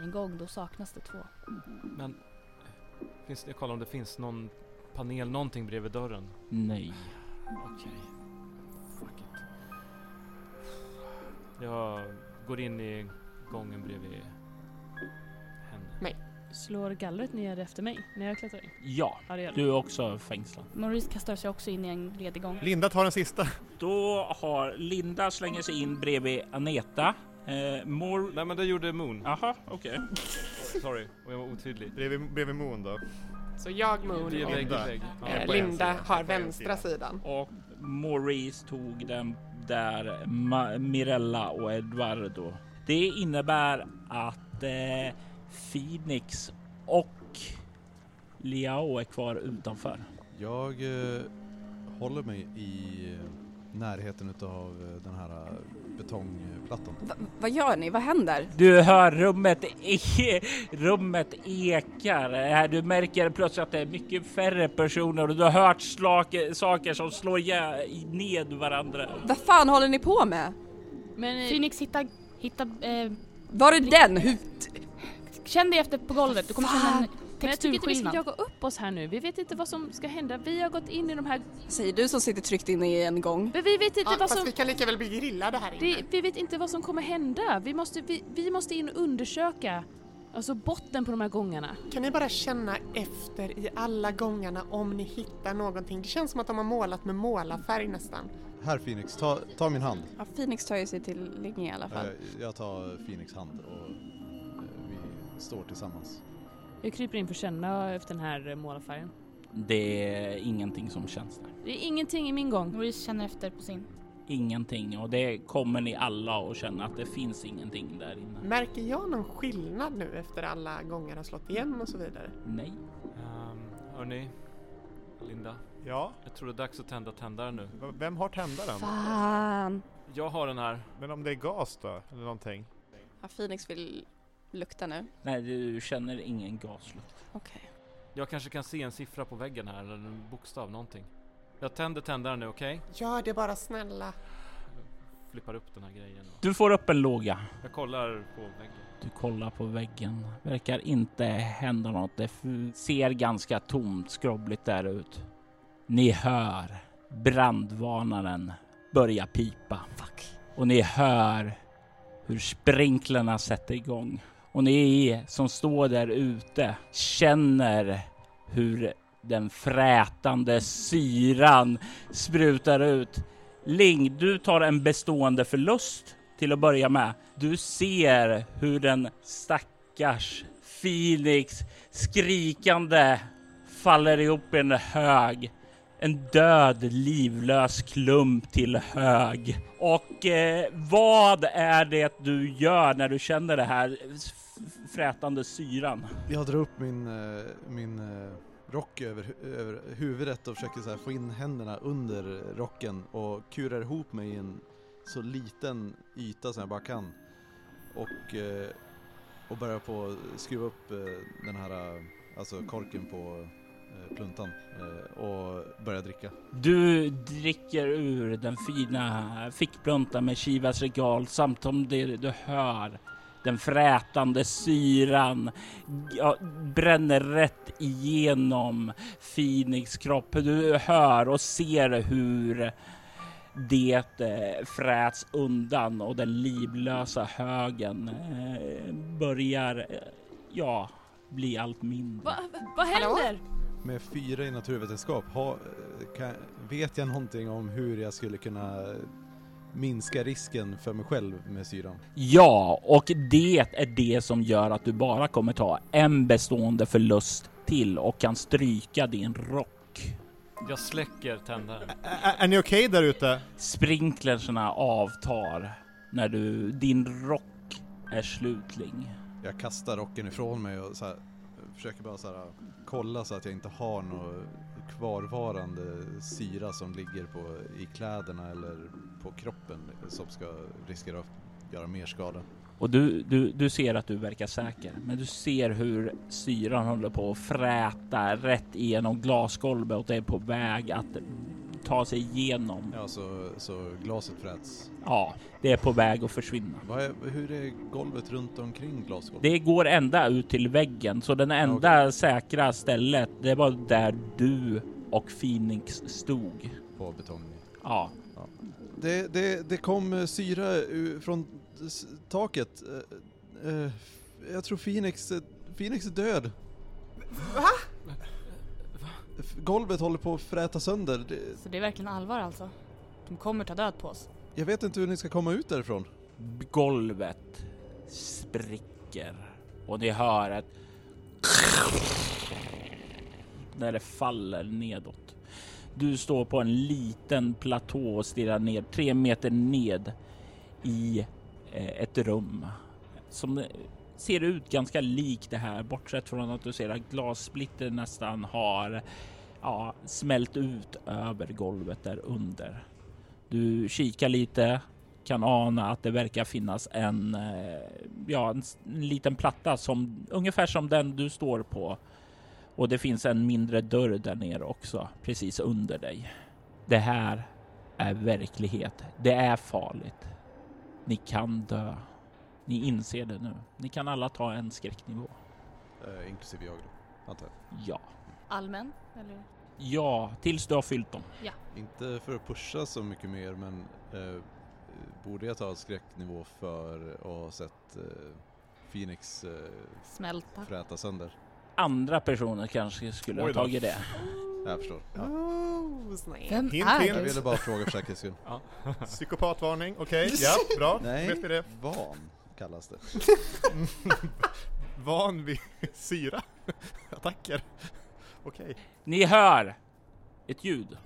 Speaker 12: i en gång, då saknas det två.
Speaker 13: Men finns, jag kollar om det finns någon panel, någonting bredvid dörren.
Speaker 1: Nej.
Speaker 13: Okej. Fuck it. Jag går in i gången bredvid henne.
Speaker 6: Nej.
Speaker 3: Slår gallret ner efter mig när jag klättrar in?
Speaker 1: Ja,
Speaker 3: det gör det.
Speaker 1: du är också fängslad.
Speaker 12: Maurice kastar sig också in i en ledig gång.
Speaker 11: Linda tar den sista.
Speaker 1: Då har Linda slänger sig in bredvid Aneta. Eh, Mor...
Speaker 13: Nej men det gjorde Moon.
Speaker 1: Aha, okej.
Speaker 13: Sorry, om jag var otydlig.
Speaker 11: Bredvid, bredvid Moon då.
Speaker 6: Så jag, Moon
Speaker 13: Det är vägg
Speaker 6: och
Speaker 13: i vägg. Ja.
Speaker 6: eh,
Speaker 13: På en
Speaker 6: Linda
Speaker 13: sida.
Speaker 6: har
Speaker 13: På en
Speaker 6: vänstra sidan.
Speaker 1: Och Maurice tog den där Ma- Mirella och Eduardo. Det innebär att eh, Phoenix och Liao är kvar utanför.
Speaker 9: Jag eh, håller mig i eh, närheten utav eh, den här eh, betongplattan.
Speaker 2: Vad gör ni? Vad händer?
Speaker 1: Du hör rummet, e- rummet ekar. Eh, Du märker plötsligt att det är mycket färre personer och du har hört slak- saker som slår jä- ned varandra.
Speaker 2: Vad fan håller ni på med?
Speaker 3: eh,
Speaker 12: Men, Phoenix hitta, hitta... Eh,
Speaker 2: Var är den? Hur...
Speaker 12: känn dig efter på golvet, du kommer känna en
Speaker 3: Men jag tycker inte vi ska
Speaker 12: texturskillnad.
Speaker 3: jaga upp oss här nu. Vi vet inte vad som ska hända. Vi har gått in i de här...
Speaker 2: Säger du som sitter tryckt inne i en gång.
Speaker 3: Men vi vet inte
Speaker 6: Ja,
Speaker 3: vad
Speaker 6: fast
Speaker 3: som...
Speaker 6: vi kan lika väl bli grillade här inne.
Speaker 3: Det, vi vet inte vad som kommer hända. Vi måste, vi, vi måste in och undersöka alltså botten på de här gångarna.
Speaker 6: Kan ni bara känna efter i alla gångarna om ni hittar någonting? Det känns som att de har målat med målarfärg nästan.
Speaker 9: Här Phoenix, ta, ta min hand.
Speaker 2: Ja, Phoenix tar ju sig till Linnea i alla fall.
Speaker 9: Eh, jag tar Phoenix hand och eh, vi står tillsammans.
Speaker 3: Jag kryper in för att känna efter den här eh, målarfärgen.
Speaker 1: Det är ingenting som känns där.
Speaker 3: Det är ingenting i min gång.
Speaker 12: Maurice känner efter på sin.
Speaker 1: Ingenting och det kommer ni alla att känna att det finns ingenting där inne.
Speaker 6: Märker jag någon skillnad nu efter alla gånger har slått igen och så vidare?
Speaker 1: Nej.
Speaker 13: Um, hörni, Linda.
Speaker 11: Ja?
Speaker 13: Jag tror det är dags att tända tändaren nu.
Speaker 11: V- Vem har tändaren?
Speaker 2: Fan.
Speaker 13: Jag har den här.
Speaker 11: Men om det är gas då? Eller någonting?
Speaker 2: Ja, Phoenix vill lukta nu.
Speaker 1: Nej, du känner ingen gaslukt.
Speaker 2: Okej.
Speaker 13: Jag kanske kan se en siffra på väggen här eller en bokstav, någonting. Jag tänder tändaren nu, okej?
Speaker 6: Gör det bara snälla.
Speaker 13: Flippar upp den här grejen. och-
Speaker 1: Du får upp en låga.
Speaker 13: Jag kollar på väggen.
Speaker 1: Du kollar på väggen. Verkar inte hända något. Det f- ser ganska tomt, skrovligt där ut. Ni hör brandvarnaren börja pipa. Och ni hör hur sprinklerna sätter igång. Och ni som står där ute känner hur den frätande syran sprutar ut. Ling, du tar en bestående förlust till att börja med. Du ser hur den stackars Phoenix skrikande faller ihop i en hög. En död, livlös klump till hög. Och eh, vad är det du gör när du känner det här f- frätande syran?
Speaker 9: Jag drar upp min, eh, min eh, rock över, hu- över huvudet och försöker så här få in händerna under rocken och kurar ihop mig i en så liten yta som jag bara kan. Och, eh, och börjar på att skruva upp eh, den här, eh, alltså korken på eh, pluntan eh, och börjar dricka.
Speaker 1: Du dricker ur den fina fickpluntan med Chivas regal samtidigt du hör den frätande syran ja, bränner rätt igenom Phoenix kropp. Du hör och ser hur det eh, fräts undan och den livlösa högen eh, börjar, eh, ja, bli allt mindre.
Speaker 3: Va, vad händer?
Speaker 9: Med fyra i naturvetenskap, ha, eh, kan, vet jag någonting om hur jag skulle kunna minska risken för mig själv med syran?
Speaker 1: Ja, och det är det som gör att du bara kommer ta en bestående förlust till och kan stryka din rock.
Speaker 13: Jag släcker tändaren.
Speaker 11: Ä- är ni okej där ute?
Speaker 1: Sprinklerserna avtar när du, din rock är slutling.
Speaker 9: Jag kastar rocken ifrån mig och så här, försöker bara så här, kolla så att jag inte har någon kvarvarande syra som ligger på, i kläderna eller på kroppen som ska riskera att göra mer skada.
Speaker 1: Och du, du, du ser att du verkar säker, men du ser hur syran håller på att fräta rätt igenom glasgolvet och det är på väg att ta sig igenom.
Speaker 9: Ja, så, så glaset fräts.
Speaker 1: Ja, det är på väg att försvinna.
Speaker 9: Vad är, hur är golvet runt omkring glasgolvet?
Speaker 1: Det går ända ut till väggen, så den enda säkra stället, det var där du och Phoenix stod.
Speaker 9: På betongen.
Speaker 1: Ja.
Speaker 9: Det, det, det kom eh, syra u- från s- taket. Eh, eh, Jag tror Phoenix, eh, Phoenix är död.
Speaker 6: Va?
Speaker 9: F- Golvet håller på att fräta sönder. Det-
Speaker 12: Så det är verkligen allvar alltså. De kommer ta död på oss.
Speaker 9: Jag vet inte hur ni ska komma ut därifrån.
Speaker 1: Golvet spricker och ni hör ett (laughs) när det faller nedåt. Du står på en liten platå och stirrar ner tre meter ned i eh, ett rum som eh, ser ut ganska likt det här, bortsett från att du ser att glassplitter nästan har ja, smält ut över golvet där under. Du kikar lite, kan ana att det verkar finnas en, eh, ja, en s- en liten platta som ungefär som den du står på. Och det finns en mindre dörr där nere också, precis under dig. Det här är verklighet. Det är farligt. Ni kan dö. Ni inser det nu. Ni kan alla ta en skräcknivå.
Speaker 9: Eh, Inklusive jag då, antar jag.
Speaker 1: Ja.
Speaker 12: Allmän, eller?
Speaker 1: Ja, tills du har fyllt dem.
Speaker 9: Inte för att pusha så mycket mer men eh, borde jag ta skräcknivå för att ha sett eh, Phoenix eh,
Speaker 12: Smälta.
Speaker 9: fräta sönder?
Speaker 1: Andra personer kanske skulle ha
Speaker 9: Oj då.
Speaker 1: tagit det.
Speaker 9: Jag förstår. Ja.
Speaker 6: Oh, snäll.
Speaker 12: Vem är
Speaker 9: Jag ville bara fråga för säkerhets skull.
Speaker 11: Ja. Psykopatvarning, (laughs) okej, ja, bra.
Speaker 9: (laughs) Nej,
Speaker 11: vet vi det. (laughs)
Speaker 9: van kallas det.
Speaker 11: Van vid syra. (laughs) Attacker. Okej.
Speaker 1: Ni hör ett ljud.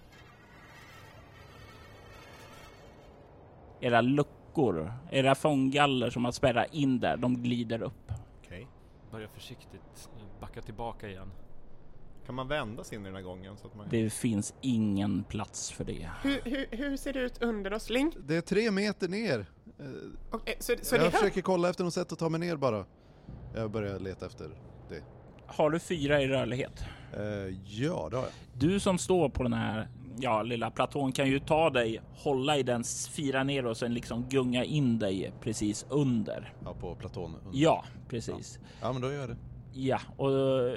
Speaker 1: Era luckor, era fånggaller som har spärrat in där, de glider upp.
Speaker 11: Okej.
Speaker 13: Börja försiktigt backa tillbaka igen.
Speaker 11: Kan man vända sig in i den här gången? Så att man...
Speaker 1: Det finns ingen plats för det.
Speaker 6: Hur, hur, hur ser det ut under oss, Ling?
Speaker 9: Det är tre meter ner. Eh,
Speaker 6: Okej, så, så det
Speaker 9: jag
Speaker 6: är högt?
Speaker 9: försöker kolla efter något sätt att ta mig ner bara. Jag börjar leta efter det.
Speaker 1: Har du fyra i rörlighet?
Speaker 9: Eh, ja, det har jag.
Speaker 1: Du som står på den här ja, lilla platån kan ju ta dig, hålla i den, fira ner och sen liksom gunga in dig precis under.
Speaker 9: Ja, på platån. under.
Speaker 1: Ja, precis.
Speaker 9: Ja, men då gör jag det.
Speaker 1: Ja, och eh,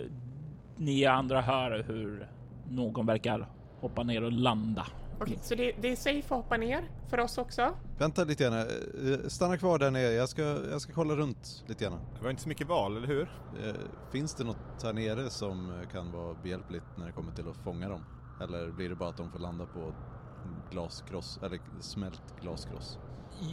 Speaker 1: ni andra hör hur någon verkar hoppa ner och landa.
Speaker 6: Okej, så det, det är safe att hoppa ner för oss också?
Speaker 9: Vänta lite gärna. Eh, Stanna kvar där nere. Jag ska, jag ska kolla runt lite gärna.
Speaker 11: Det var inte så mycket val, eller hur?
Speaker 9: Eh, Finns det något här nere som eh, kan vara behjälpligt när det kommer till att fånga dem? Eller blir det bara att de får landa på glaskross, eller smält glaskross?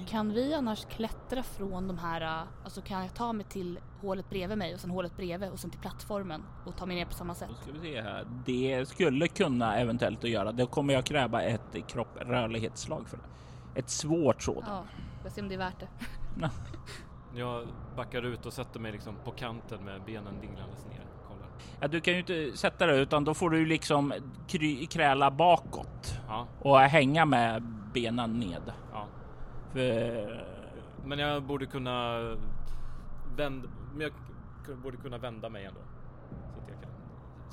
Speaker 12: Kan vi annars klättra från de här, äh, alltså kan jag ta mig till hålet bredvid mig och sen hålet bredvid och sen till plattformen och ta mig ner på samma sätt?
Speaker 1: Ska vi se här. Det skulle kunna eventuellt att göra. Det kommer jag kräva ett kropprörlighetsslag för. det. Ett svårt sådant.
Speaker 12: Ja, jag ser om det är värt det.
Speaker 13: Jag backar ut och sätter mig liksom på kanten med benen dinglandes ner. Kollar.
Speaker 1: Ja, du kan ju inte sätta det utan då får du liksom kry- kräla bakåt
Speaker 13: Ja.
Speaker 1: och hänga med benen ned.
Speaker 13: Ja.
Speaker 1: För
Speaker 13: Men jag borde kunna vända, men jag k- borde kunna vända mig ändå. Så att jag kan.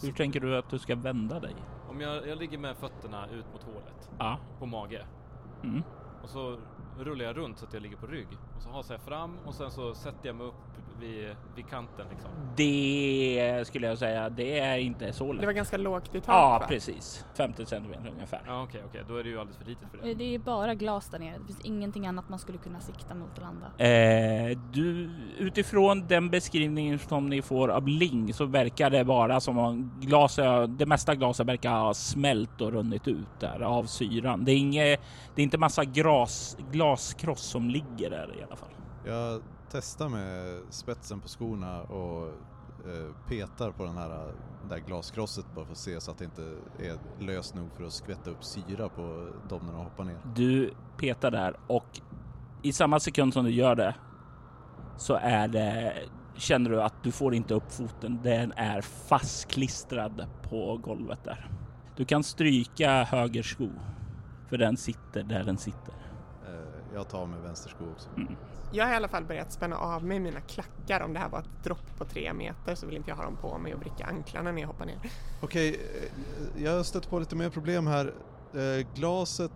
Speaker 1: hur tänker du att du ska vända dig?
Speaker 13: Om jag, jag ligger med fötterna ut mot hålet
Speaker 1: Ja.
Speaker 13: på mage
Speaker 1: Mm.
Speaker 13: och så rullar jag runt så att jag ligger på rygg och så hasar jag fram och sen så sätter jag mig upp vid, vid kanten liksom.
Speaker 1: Det skulle jag säga, det är inte så lätt.
Speaker 6: Det var ganska lågt i tak
Speaker 1: Ja,
Speaker 6: va?
Speaker 1: precis. 50 centimeter ungefär.
Speaker 13: Ja okej, okej, då är det ju alldeles för litet för det.
Speaker 12: Eh, Det är bara glas där nere. Det finns ingenting annat man skulle kunna sikta mot och landa.
Speaker 1: Eh, du, utifrån den beskrivningen som ni får av Ling så verkar det vara som om glaset, det mesta glaset verkar ha smält och runnit ut där av syran. Det är, inge, det är inte massa gras, glaskross som ligger där i alla fall.
Speaker 9: Jag testar med spetsen på skorna och eh, petar på den här det där glaskrosset bara för att se så att det inte är löst nog för att skvätta upp syra på dem när de hoppar ner.
Speaker 1: Du petar där och i samma sekund som du gör det så är det, känner du att du får inte upp foten. Den är fastklistrad på golvet där. Du kan stryka höger sko för den sitter där den sitter. Mm.
Speaker 9: Eh, jag tar med vänster sko också.
Speaker 6: Jag har i alla fall börjat spänna av mig mina klackar. Om det här var ett dropp på tre meter så vill inte jag ha dem på mig och vricka anklarna när jag hoppar ner.
Speaker 9: Okej, eh, jag stötte på lite mer problem här. Eh, glaset,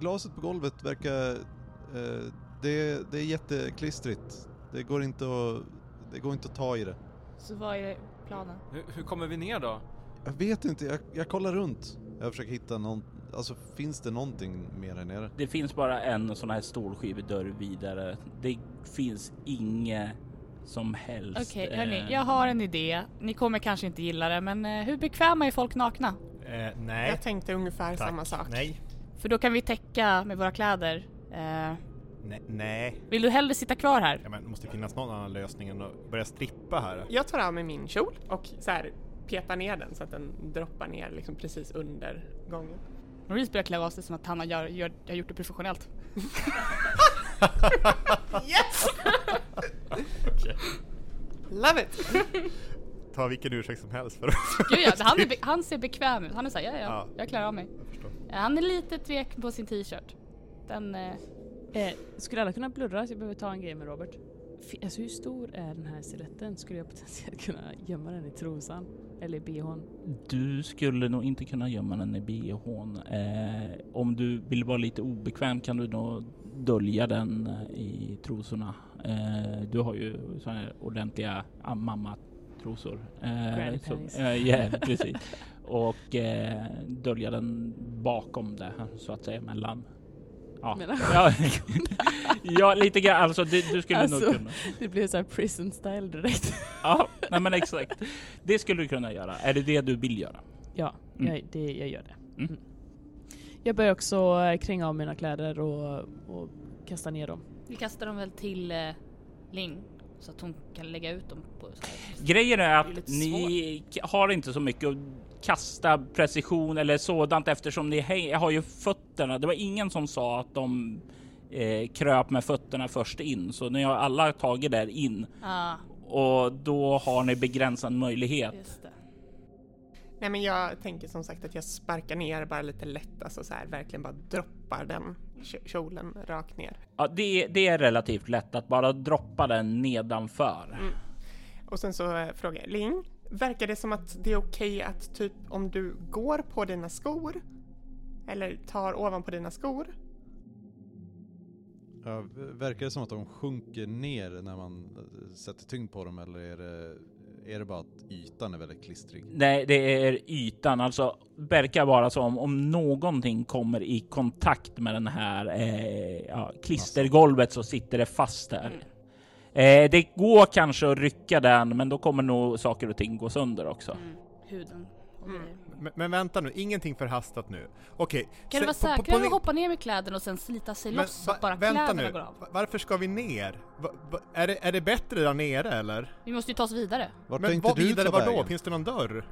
Speaker 9: glaset på golvet verkar... Eh, det, det är jätteklistrigt. Det går, inte att, det går inte att ta i det.
Speaker 12: Så vad är planen?
Speaker 13: Hur, hur kommer vi ner då?
Speaker 9: Jag vet inte, jag, jag kollar runt. Jag försöker hitta någon, alltså finns det någonting mer här nere?
Speaker 1: Det finns bara en sån här stålskivedörr vidare. Det finns inget som helst.
Speaker 12: Okej
Speaker 1: eh,
Speaker 12: hörni, jag har en idé. Ni kommer kanske inte gilla det men eh, hur bekväma är folk nakna?
Speaker 14: Eh, nej.
Speaker 6: Jag tänkte ungefär
Speaker 14: Tack.
Speaker 6: samma sak.
Speaker 14: Nej.
Speaker 12: För då kan vi täcka med våra kläder. Eh,
Speaker 14: Nej. nej.
Speaker 12: vill du hellre sitta kvar här?
Speaker 11: Ja, men det måste finnas någon annan lösning än att börja strippa här.
Speaker 6: Jag tar av mig min kjol och så här petar ner den så att den droppar ner liksom precis under gången.
Speaker 12: Maurice börjar klä av sig som att han har, gör, gör, har gjort det professionellt.
Speaker 6: (laughs) (laughs) Yes! Love it!
Speaker 11: Ta vilken ursäkt som
Speaker 12: (laughs)
Speaker 11: helst för att...
Speaker 12: Gud ja, han,
Speaker 6: (laughs)
Speaker 11: (laughs)
Speaker 12: är be- han ser bekväm ut. Han är såhär, ja, ja,
Speaker 11: Ja.
Speaker 12: jag klarar av mig. Eh, Han är lite tvek på sin t-shirt. Den... Eh,
Speaker 15: Eh, skulle alla kunna blurra? Så jag behöver ta en grej med Robert. Fi- Alltså hur stor är den här stiletten? Skulle jag potentiellt kunna gömma den i trosan? Eller i bhn?
Speaker 1: Du skulle nog inte kunna gömma den i bhn. Eh, om du vill vara lite obekväm kan du nog dölja den eh, i trosorna. Eh, du har ju såna här ordentliga ah, mammatrosor.
Speaker 15: Granny
Speaker 1: så-
Speaker 15: panties. (laughs)
Speaker 1: eh, ja,
Speaker 13: (laughs)
Speaker 1: precis. Och eh, dölja den bakom det här, så att säga mellan. Ja,
Speaker 15: Mellan
Speaker 1: (laughs) ja, ja lite grann. Alltså, det, du skulle
Speaker 15: Alltså,
Speaker 1: nog kunna.
Speaker 15: (laughs) Det blir så här prison style direkt.
Speaker 1: Ja, nej, men exakt. Det skulle du kunna göra. Är det det du vill göra?
Speaker 15: Ja,
Speaker 1: Mm.
Speaker 15: jag, det, jag gör det. Mm. Jag börjar också eh, kränga av mina kläder och, och kasta ner dem.
Speaker 12: vi kastar dem väl till eh, Ling så att hon kan lägga ut dem på... Så här.
Speaker 1: Grejen är
Speaker 12: Det är
Speaker 1: att
Speaker 12: lite
Speaker 1: ni k- har inte så mycket att kasta precision eller sådant eftersom ni häng- har ju fötterna. Det var ingen som sa att de eh, kröp med fötterna först in, så ni har alla tagit där in
Speaker 12: Ah,
Speaker 1: och då har ni begränsad möjlighet.
Speaker 12: just det.
Speaker 6: Nej men jag tänker som sagt att jag sparkar ner bara lite lätt, alltså så här verkligen bara droppar den kj- kjolen rakt ner.
Speaker 1: Ja, det, det är relativt lätt att bara droppa den nedanför.
Speaker 6: Mm. Och sen så eh, frågar jag Ling, verkar det som att det är okej att typ om du går på dina skor eller tar ovanpå dina skor?
Speaker 9: Ja, verkar det som att de sjunker ner när man eh, sätter tyngd på dem eller är det, är det bara att ytan är väldigt klistrig?
Speaker 1: Nej, det är ytan. Alltså verkar vara som om någonting kommer i kontakt med den här eh, ja, klistergolvet så sitter det fast där. Eh, det går kanske att rycka den, men då kommer nog saker och ting gå sönder också.
Speaker 12: Huden. och
Speaker 6: Mm.
Speaker 12: grejer.
Speaker 11: Men, men vänta nu, ingenting förhastat nu. Okej.
Speaker 12: Kan
Speaker 11: se-
Speaker 12: du vara
Speaker 11: på- på- på
Speaker 12: säkrare än att
Speaker 11: Ling-
Speaker 12: hoppa ner med kläderna och sen slita sig
Speaker 11: Men
Speaker 12: loss så att
Speaker 11: va-
Speaker 12: bara
Speaker 11: Vänta
Speaker 12: kläderna
Speaker 11: nu,
Speaker 12: går av?
Speaker 11: Va- varför ska vi ner? Va, va, är, det, är det bättre där nere eller?
Speaker 12: Vi måste ju ta oss vidare.
Speaker 9: Vart
Speaker 11: men
Speaker 9: tänkte
Speaker 11: vad
Speaker 9: du
Speaker 11: vidare
Speaker 9: ta
Speaker 11: var då?
Speaker 9: vägen?
Speaker 11: Finns det någon dörr?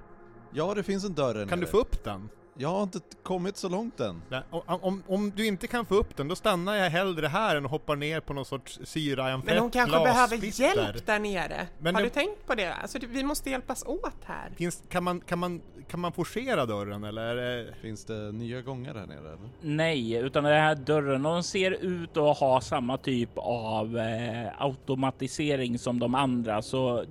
Speaker 9: Ja, det finns en dörr där
Speaker 11: Kan du
Speaker 9: nere.
Speaker 11: få upp den?
Speaker 9: Jag har inte kommit så långt än.
Speaker 11: Nej, om, om, om du inte kan få upp den, då stannar jag hellre här än hoppar ner på någon sorts syra i en
Speaker 6: Men hon
Speaker 11: fett
Speaker 6: kanske behöver
Speaker 11: glassplitter.
Speaker 6: hjälp där nere.
Speaker 11: Men
Speaker 6: Har
Speaker 11: det-
Speaker 6: du tänkt på det? Alltså det- vi måste hjälpas åt här.
Speaker 11: Finns, kan, man, kan, man, kan man forcera dörren eller?
Speaker 9: Finns det nya gångar här nere eller?
Speaker 1: Nej, utan den här dörren, de ser ut att ha samma typ av eh, automatisering som de andra, så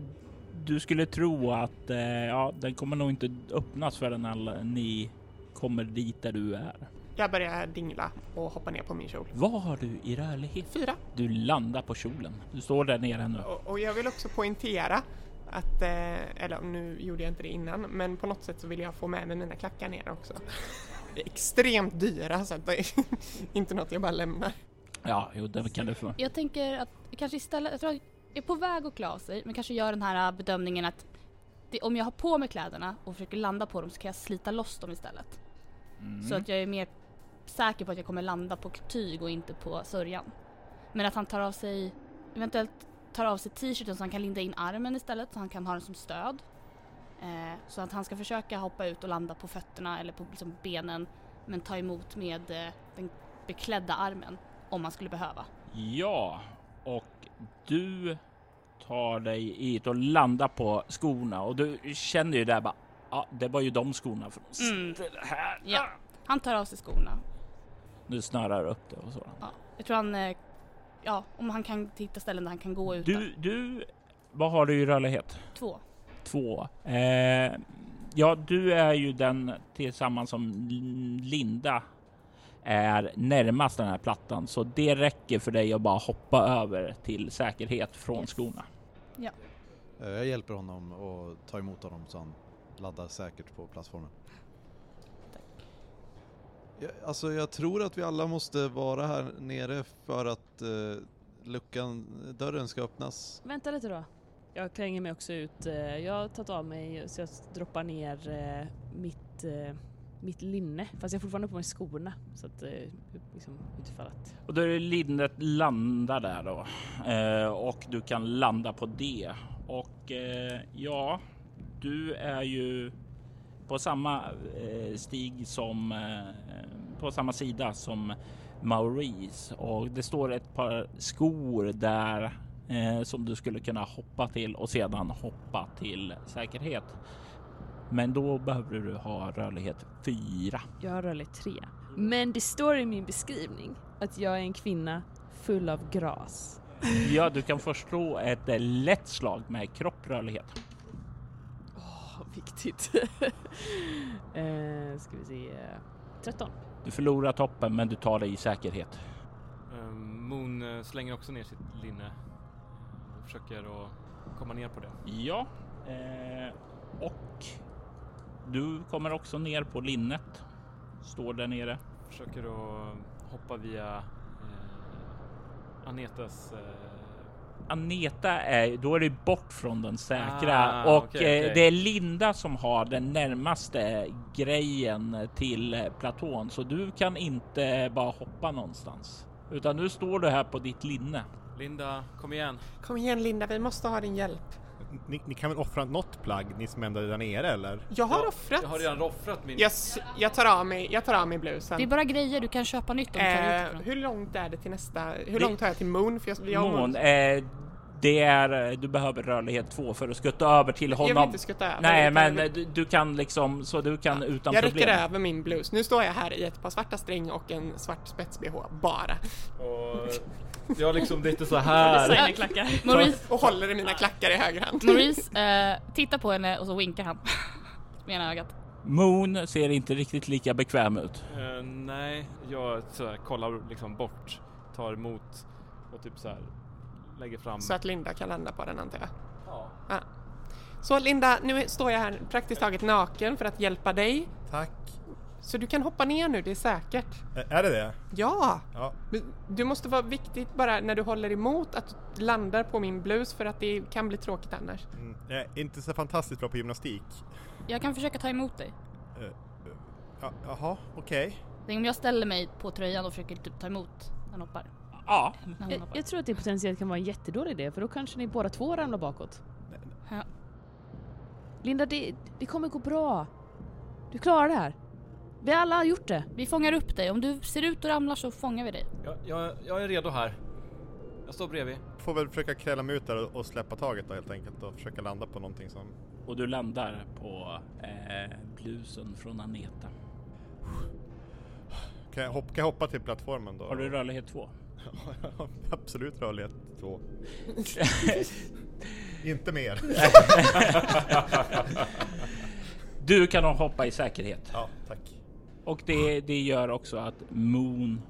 Speaker 1: du skulle tro att eh, ja, den kommer nog inte öppnas förrän alla, ni kommer dit där du är.
Speaker 6: Jag börjar dingla och hoppa ner på min kjol.
Speaker 1: Vad har du i rörlighet?
Speaker 6: Fyra.
Speaker 1: Du landar på kjolen. Du står där nere nu.
Speaker 6: Och, och jag vill också poängtera att, eh, eller nu gjorde jag inte det innan, men på något sätt så vill jag få med mig mina klackar ner också. Det är Extremt dyra så att det är (laughs) inte något jag bara lämnar.
Speaker 1: Ja, jo, det kan du få.
Speaker 12: Jag tänker att vi kanske istället, jag tror jag är på väg att klä av sig, men kanske gör den här äh, bedömningen att det, om jag har på mig kläderna och försöker landa på dem så kan jag slita loss dem istället.
Speaker 16: Mm.
Speaker 12: Så att jag är mer säker på att jag kommer landa på tyg och inte på sörjan. Men att han tar av sig, eventuellt tar av sig t-shirten så han kan linda in armen istället så han kan ha den som stöd. Eh, så att han ska försöka hoppa ut och landa på fötterna eller på liksom, benen men ta emot med eh, den beklädda armen om man skulle behöva.
Speaker 1: Ja, och du tar dig hit och landar på skorna och du känner ju där bara, ja, det var ju de skorna från oss.
Speaker 12: Mm.
Speaker 1: Ah.
Speaker 12: Ja. Han tar av sig skorna.
Speaker 1: Du snörar upp det och så.
Speaker 12: Ja. Jag tror han, eh, ja om han kan hitta ställen där han kan gå ut.
Speaker 1: Du, du, vad har du i rörlighet?
Speaker 12: Två.
Speaker 1: Två. Eh, ja, du är ju den tillsammans som Linda är närmast den här plattan, så det räcker för dig att bara hoppa över till säkerhet från
Speaker 12: Yes.
Speaker 1: skorna.
Speaker 12: Ja.
Speaker 9: Eh, Jag hjälper honom och tar emot honom så han laddar säkert på plattformen. Jag, alltså jag tror att vi alla måste vara här nere för att eh, luckan, dörren ska öppnas.
Speaker 15: Vänta lite då. Jag kränger mig också ut. eh, Jag har tagit av mig så jag droppar ner eh, mitt, eh, mitt linne. Fast jag har fortfarande på mig skorna. Så att eh, liksom, utifall att...
Speaker 1: Och då är det linnet landar där då. Eh, och du kan landa på det. Och eh, ja, du är ju på samma eh, stig som eh, på samma sida som Maurice och det står ett par skor där eh, som du skulle kunna hoppa till och sedan hoppa till säkerhet. Men då behöver du ha rörlighet 4.
Speaker 15: Jag har rörlig tre. Men det står i min beskrivning att jag är en kvinna full av gras.
Speaker 1: Ja, du kan förstå ett eh, lätt slag med kropprörlighet.
Speaker 15: Åh, viktigt. (laughs) eh, ska vi se. 13.
Speaker 1: Du förlorar toppen, men du tar dig i säkerhet.
Speaker 13: Eh, Moon eh, slänger också ner sitt linne och försöker att komma ner på det.
Speaker 1: Ja, eh, och du kommer också ner på linnet. Står där nere.
Speaker 13: Försöker att hoppa Ehm, via eh, Anetas... Eh,
Speaker 1: Aneta är, då är det bort från den säkra
Speaker 13: Ah,
Speaker 1: och
Speaker 13: okej,
Speaker 1: eh,
Speaker 13: okej.
Speaker 1: det är Linda som har den närmaste grejen till eh, platån, så du kan inte bara hoppa någonstans, utan nu står du här på ditt linne.
Speaker 13: Linda, kom igen.
Speaker 6: Kom igen Linda, vi måste ha din hjälp.
Speaker 11: Ni, ni kan väl offra något plagg, ni som ändå är där nere eller?
Speaker 6: Jag har offrat.
Speaker 13: Jag har redan offrat min...
Speaker 6: Jag, s- jag, tar av mig, jag tar av mig blusen.
Speaker 12: Det är bara grejer du kan köpa nytt om du tar
Speaker 6: Eh,
Speaker 12: ut ifrån.
Speaker 6: hur långt är det till nästa? Hur
Speaker 1: Det-
Speaker 6: långt har jag till Moon? För jag, jag och
Speaker 1: Mån, eh, det är, eh, du behöver rörlighet 2 för att skutta över till
Speaker 6: Jag vill
Speaker 1: honom.
Speaker 6: inte skutta över,
Speaker 1: Nej,
Speaker 6: utan
Speaker 1: men
Speaker 6: jag
Speaker 1: eh, du, du kan liksom, så du kan utan
Speaker 6: jag
Speaker 1: problem.
Speaker 6: räcker över min blus. Nu står jag här i ett par svarta string och en svart spets-bh, bara.
Speaker 13: Och jag liksom lite
Speaker 6: (laughs)
Speaker 13: så
Speaker 6: Det är så
Speaker 13: här.
Speaker 6: jag klackar.
Speaker 12: Maurice-
Speaker 6: Och håller i mina klackar i höger hand.
Speaker 12: Maurice eh, tittar på henne och så winkar han. (laughs) Med ena ögat.
Speaker 1: Moon ser inte riktigt lika bekväm ut.
Speaker 13: Eh, nej, jag så här, kollar liksom bort, tar emot och typ så här lägger
Speaker 6: (laughs)
Speaker 13: fram.
Speaker 6: Så att Linda kan landa på den antar jag.
Speaker 13: Ja.
Speaker 6: Ja. Så Linda, nu står jag här praktiskt taget naken för att hjälpa dig.
Speaker 11: Tack.
Speaker 6: Så du kan hoppa ner nu, det är säkert.
Speaker 11: Ä- Är det det?
Speaker 6: Ja!
Speaker 11: Ja.
Speaker 6: Men Du måste vara viktigt bara när du håller emot att du landar på min blus för att det kan bli tråkigt annars.
Speaker 11: Mm, jag är inte så fantastiskt bra på gymnastik.
Speaker 12: Jag kan försöka ta emot dig.
Speaker 11: Eh, eh, ja, Jaha, okej.
Speaker 12: Tänk om jag ställer mig på tröjan och försöker typ ta emot när han hoppar.
Speaker 1: Ja.
Speaker 12: När hon
Speaker 15: Jag,
Speaker 12: hoppar.
Speaker 15: jag tror att det potentiellt kan vara en jättedålig idé för då kanske ni båda två ramlar bakåt.
Speaker 12: Ja.
Speaker 15: Linda, det, det kommer gå bra. Du klarar det här. Vi alla har gjort det.
Speaker 12: Vi fångar upp dig. Om du ser ut och ramlar så fångar vi dig.
Speaker 13: Jag, jag, jag är redo här. Jag står bredvid.
Speaker 11: Får väl försöka kräla mig ut där och- och släppa taget då helt enkelt och försöka landa på någonting som...
Speaker 1: Och du landar på eh, blusen från Aneta.
Speaker 11: Kan jag, hoppa, kan jag hoppa till plattformen då?
Speaker 1: Har du rörlighet 2?
Speaker 11: (laughs) Absolut rörlighet
Speaker 1: (laughs)
Speaker 11: 2. inte mer. (laughs)
Speaker 1: Du kan hoppa i säkerhet.
Speaker 11: Ja, tack.
Speaker 1: Och det, det gör också att Moon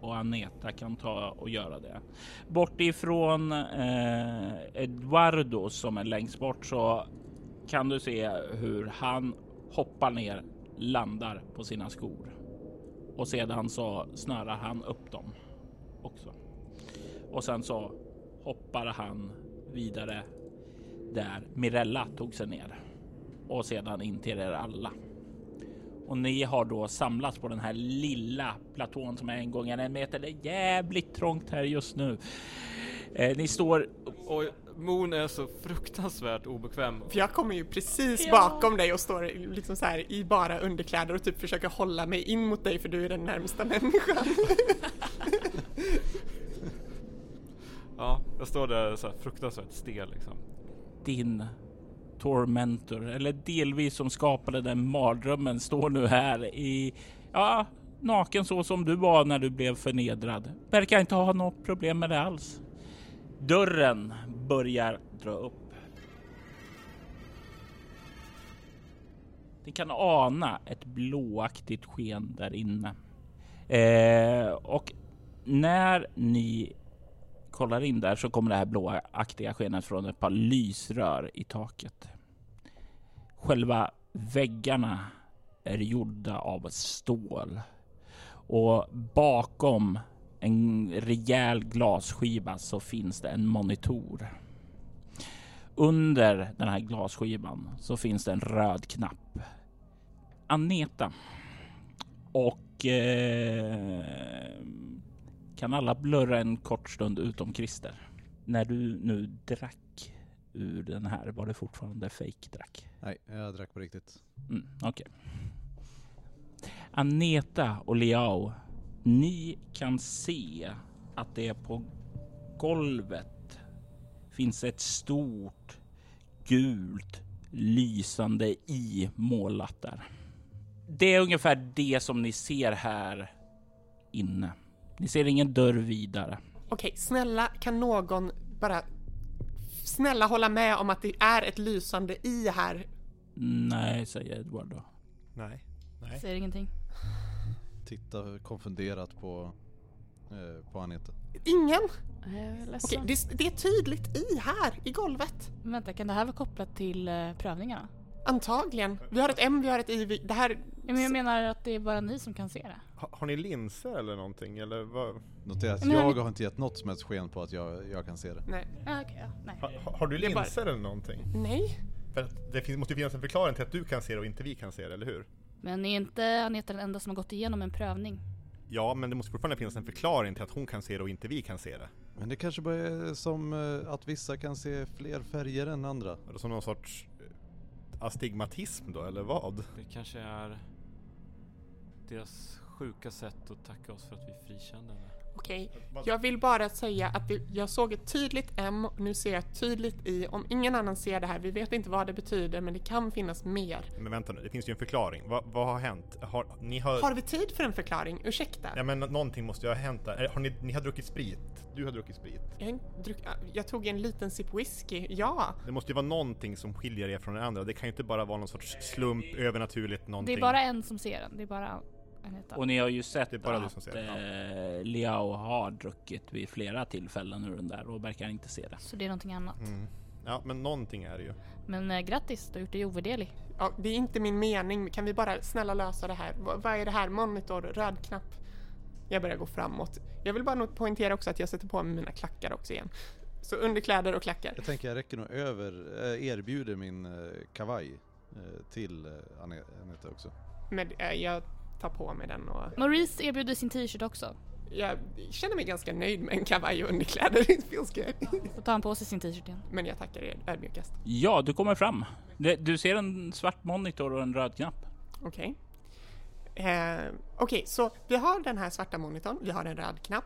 Speaker 1: och Aneta kan ta och göra det. Bort ifrån eh, Eduardo som är längst bort så kan du se hur han hoppar ner, landar på sina skor och sedan så snörar han upp dem också. Och sen så hoppar han vidare där Mirella tog sig ner och sedan in till er alla. Och ni har då samlats på den här lilla platån som är en gång en meter. Det är jävligt trångt här just nu. Eh, ni står...
Speaker 13: Och Moon är så fruktansvärt obekväm.
Speaker 6: För jag kommer ju precis
Speaker 13: Ja.
Speaker 6: bakom dig och står liksom så här i bara underkläder och typ försöker hålla mig in mot dig för du är den närmsta människan.
Speaker 13: Ja, jag står där så här fruktansvärt stel liksom.
Speaker 1: din tormentor, eller delvis som skapade den mardrömmen, står nu här i, ja, naken så som du var när du blev förnedrad. Verkar inte ha något problem med det alls. Dörren börjar dra upp. Ni kan ana ett blåaktigt sken där inne. Eh, och när ni kollar in där så kommer det här blåaktiga skenet från ett par lysrör i taket. Själva väggarna är gjorda av stål och bakom en rejäl glasskiva så finns det en monitor. Under den här glasskivan så finns det en röd knapp. Aneta. Och eh, kan alla blurra en kort stund utom Christer? När du nu drack ur den här, var det fortfarande fake drack?
Speaker 9: Nej, jag drack på riktigt.
Speaker 1: Mm, Okej. Aneta och Liao, ni kan se att det på golvet finns ett stort gult lysande i målat där. Det är ungefär det som ni ser här inne. Ni ser ingen dörr vidare.
Speaker 6: (laughs) Okej, snälla kan någon bara snälla hålla med om att det är ett lysande i här?
Speaker 1: Nej, säger Edward då.
Speaker 11: Nej. Nej.
Speaker 12: Säger ingenting.
Speaker 9: Titta konfunderat på, eh, på Anita.
Speaker 6: Ingen?
Speaker 12: Okej,
Speaker 6: Okej, det, det är tydligt i här, i golvet.
Speaker 12: Vänta, kan det här vara kopplat till eh, prövningarna?
Speaker 6: Antagligen. Vi har ett M, vi har ett I, vi, det här...
Speaker 12: Ja, men jag menar att det är bara ni som kan se det.
Speaker 11: Ha, har ni linser eller någonting eller vad?
Speaker 9: Notera att
Speaker 12: Men
Speaker 9: jag
Speaker 12: han-
Speaker 9: har inte gett något som helst sken på att jag, jag kan se det.
Speaker 6: Nej.
Speaker 12: Ah, okej, ja. Nej.
Speaker 11: Ha, ha- har du
Speaker 6: Det är bara-
Speaker 11: linser eller någonting?
Speaker 6: Nej.
Speaker 11: För att det finns, måste ju finnas en förklaring till att du kan se det och inte vi kan se det, eller hur?
Speaker 12: Men är inte Aneta den enda som har gått igenom en prövning?
Speaker 11: Ja, men det måste fortfarande finnas en förklaring till att hon kan se det och inte vi kan se det.
Speaker 9: Men det kanske bara är som eh, att vissa kan se fler färger än andra.
Speaker 11: Eller som någon sorts eh, astigmatism då, eller vad?
Speaker 13: Det kanske är deras sjuka sätt att tacka oss för att vi frikände henne.
Speaker 6: Okej, jag vill bara säga att det, jag såg ett tydligt M, nu ser jag ett tydligt I. Om ingen annan ser det här, vi vet inte vad det betyder, men det kan finnas mer.
Speaker 11: Men vänta nu, det finns ju en förklaring. Va, vad har hänt? Har, ni har...
Speaker 6: Har vi tid för en förklaring? Ursäkta.
Speaker 11: Nej men någonting måste ju ha hänt där. Eller Har ni, ni har druckit sprit? Du har druckit sprit.
Speaker 6: Jag, har inte druck, ah, jag tog en liten sipp whisky, ja.
Speaker 11: Det måste ju vara någonting som skiljer er från den andra. Det kan ju inte bara vara någon sorts slump, övernaturligt någonting.
Speaker 12: Det är bara en som ser den. Det är bara Aneta.
Speaker 1: Och ni har ju sett
Speaker 11: Det är bara du
Speaker 1: att
Speaker 11: som ser
Speaker 1: eh, Liao har druckit vid flera tillfällen ur den där och verkar inte se det.
Speaker 12: Så det är någonting annat.
Speaker 11: Mm. Ja, men någonting är det ju.
Speaker 12: Men eh, grattis, du har gjort dig ovärderlig.
Speaker 6: ja. Det är inte min mening, kan vi bara snälla lösa det här? Va- vad är det här? Monitor, röd knapp. Jag börjar gå framåt. Jag vill bara nog poängtera också att jag sätter på mig mina klackar också igen. Så underkläder och klackar.
Speaker 9: Jag tänker jag räcker nog över, eh, erbjuder min eh, kavaj eh, till eh, Ane- Anita också.
Speaker 6: Men eh, jag tar på mig den och
Speaker 12: Maurice erbjuder sin t-shirt också.
Speaker 6: jag känner mig ganska nöjd med en kavaj och underkläder. (laughs) Det feels good.
Speaker 12: Då tar han på sig sin t-shirt igen.
Speaker 6: Men jag tackar er ödmjukast.
Speaker 1: Ja, du kommer fram. Det- Du ser en svart monitor och en röd knapp.
Speaker 6: Okej. Eh, Okej, så vi har den här svarta monitorn, vi har en röd knapp.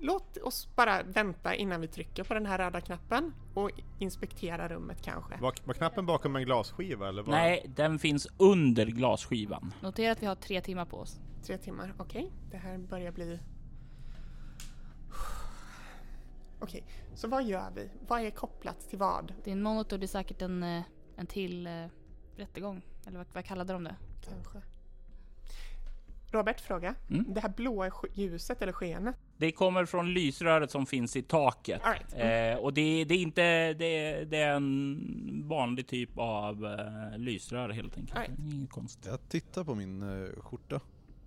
Speaker 6: Låt oss bara vänta innan vi trycker på den här röda knappen och inspektera rummet kanske.
Speaker 11: Var, var knappen bakom en glasskiva eller? Var...
Speaker 1: Nej, den finns under glasskivan.
Speaker 12: Notera att vi har tre timmar på oss.
Speaker 6: Tre timmar, okej. Det här börjar bli... Okej, så vad gör vi? Vad är kopplat till vad?
Speaker 12: Det är en monitor, det är säkert en, eh, en till eh, rättegång. Eller vad, vad kallade de det?
Speaker 6: Kanske. Robert, fråga. Det här blåa sk- ljuset eller skenet?
Speaker 1: Det kommer från lysröret som finns i taket.
Speaker 6: All right.
Speaker 1: Eh, och det, det är inte... Det, det är en vanlig typ av eh, lysrör helt enkelt.
Speaker 6: All right.
Speaker 1: Inget konstigt.
Speaker 9: Jag tittar på min eh, skjorta.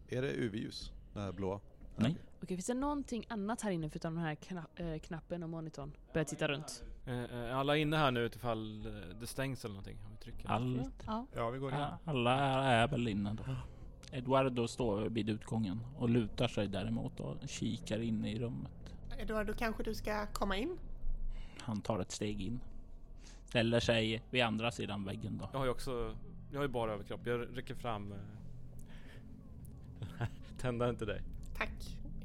Speaker 9: Är det UV-ljus? Det här blåa?
Speaker 1: Nej.
Speaker 3: Okej, finns det någonting annat här inne förutom den här kna- eh, knappen och monitorn? Börjar titta runt.
Speaker 13: Eh, eh, Alla inne här nu utifall eh, det stängs eller någonting. Om vi trycker.
Speaker 1: Allt.
Speaker 12: Ja.
Speaker 11: Ja, vi går in.
Speaker 1: Ja, Alla är väl inne då. Eduardo står vid utgången och lutar sig däremot och kikar in i rummet.
Speaker 6: Eduardo, kanske du ska komma in?
Speaker 1: Han tar ett steg in. Ställer sig vid andra sidan väggen då.
Speaker 13: Jag har ju också, jag har ju bara överkropp. Jag räcker
Speaker 1: (laughs)
Speaker 13: fram. eh, Tändaren till dig.
Speaker 6: Tack.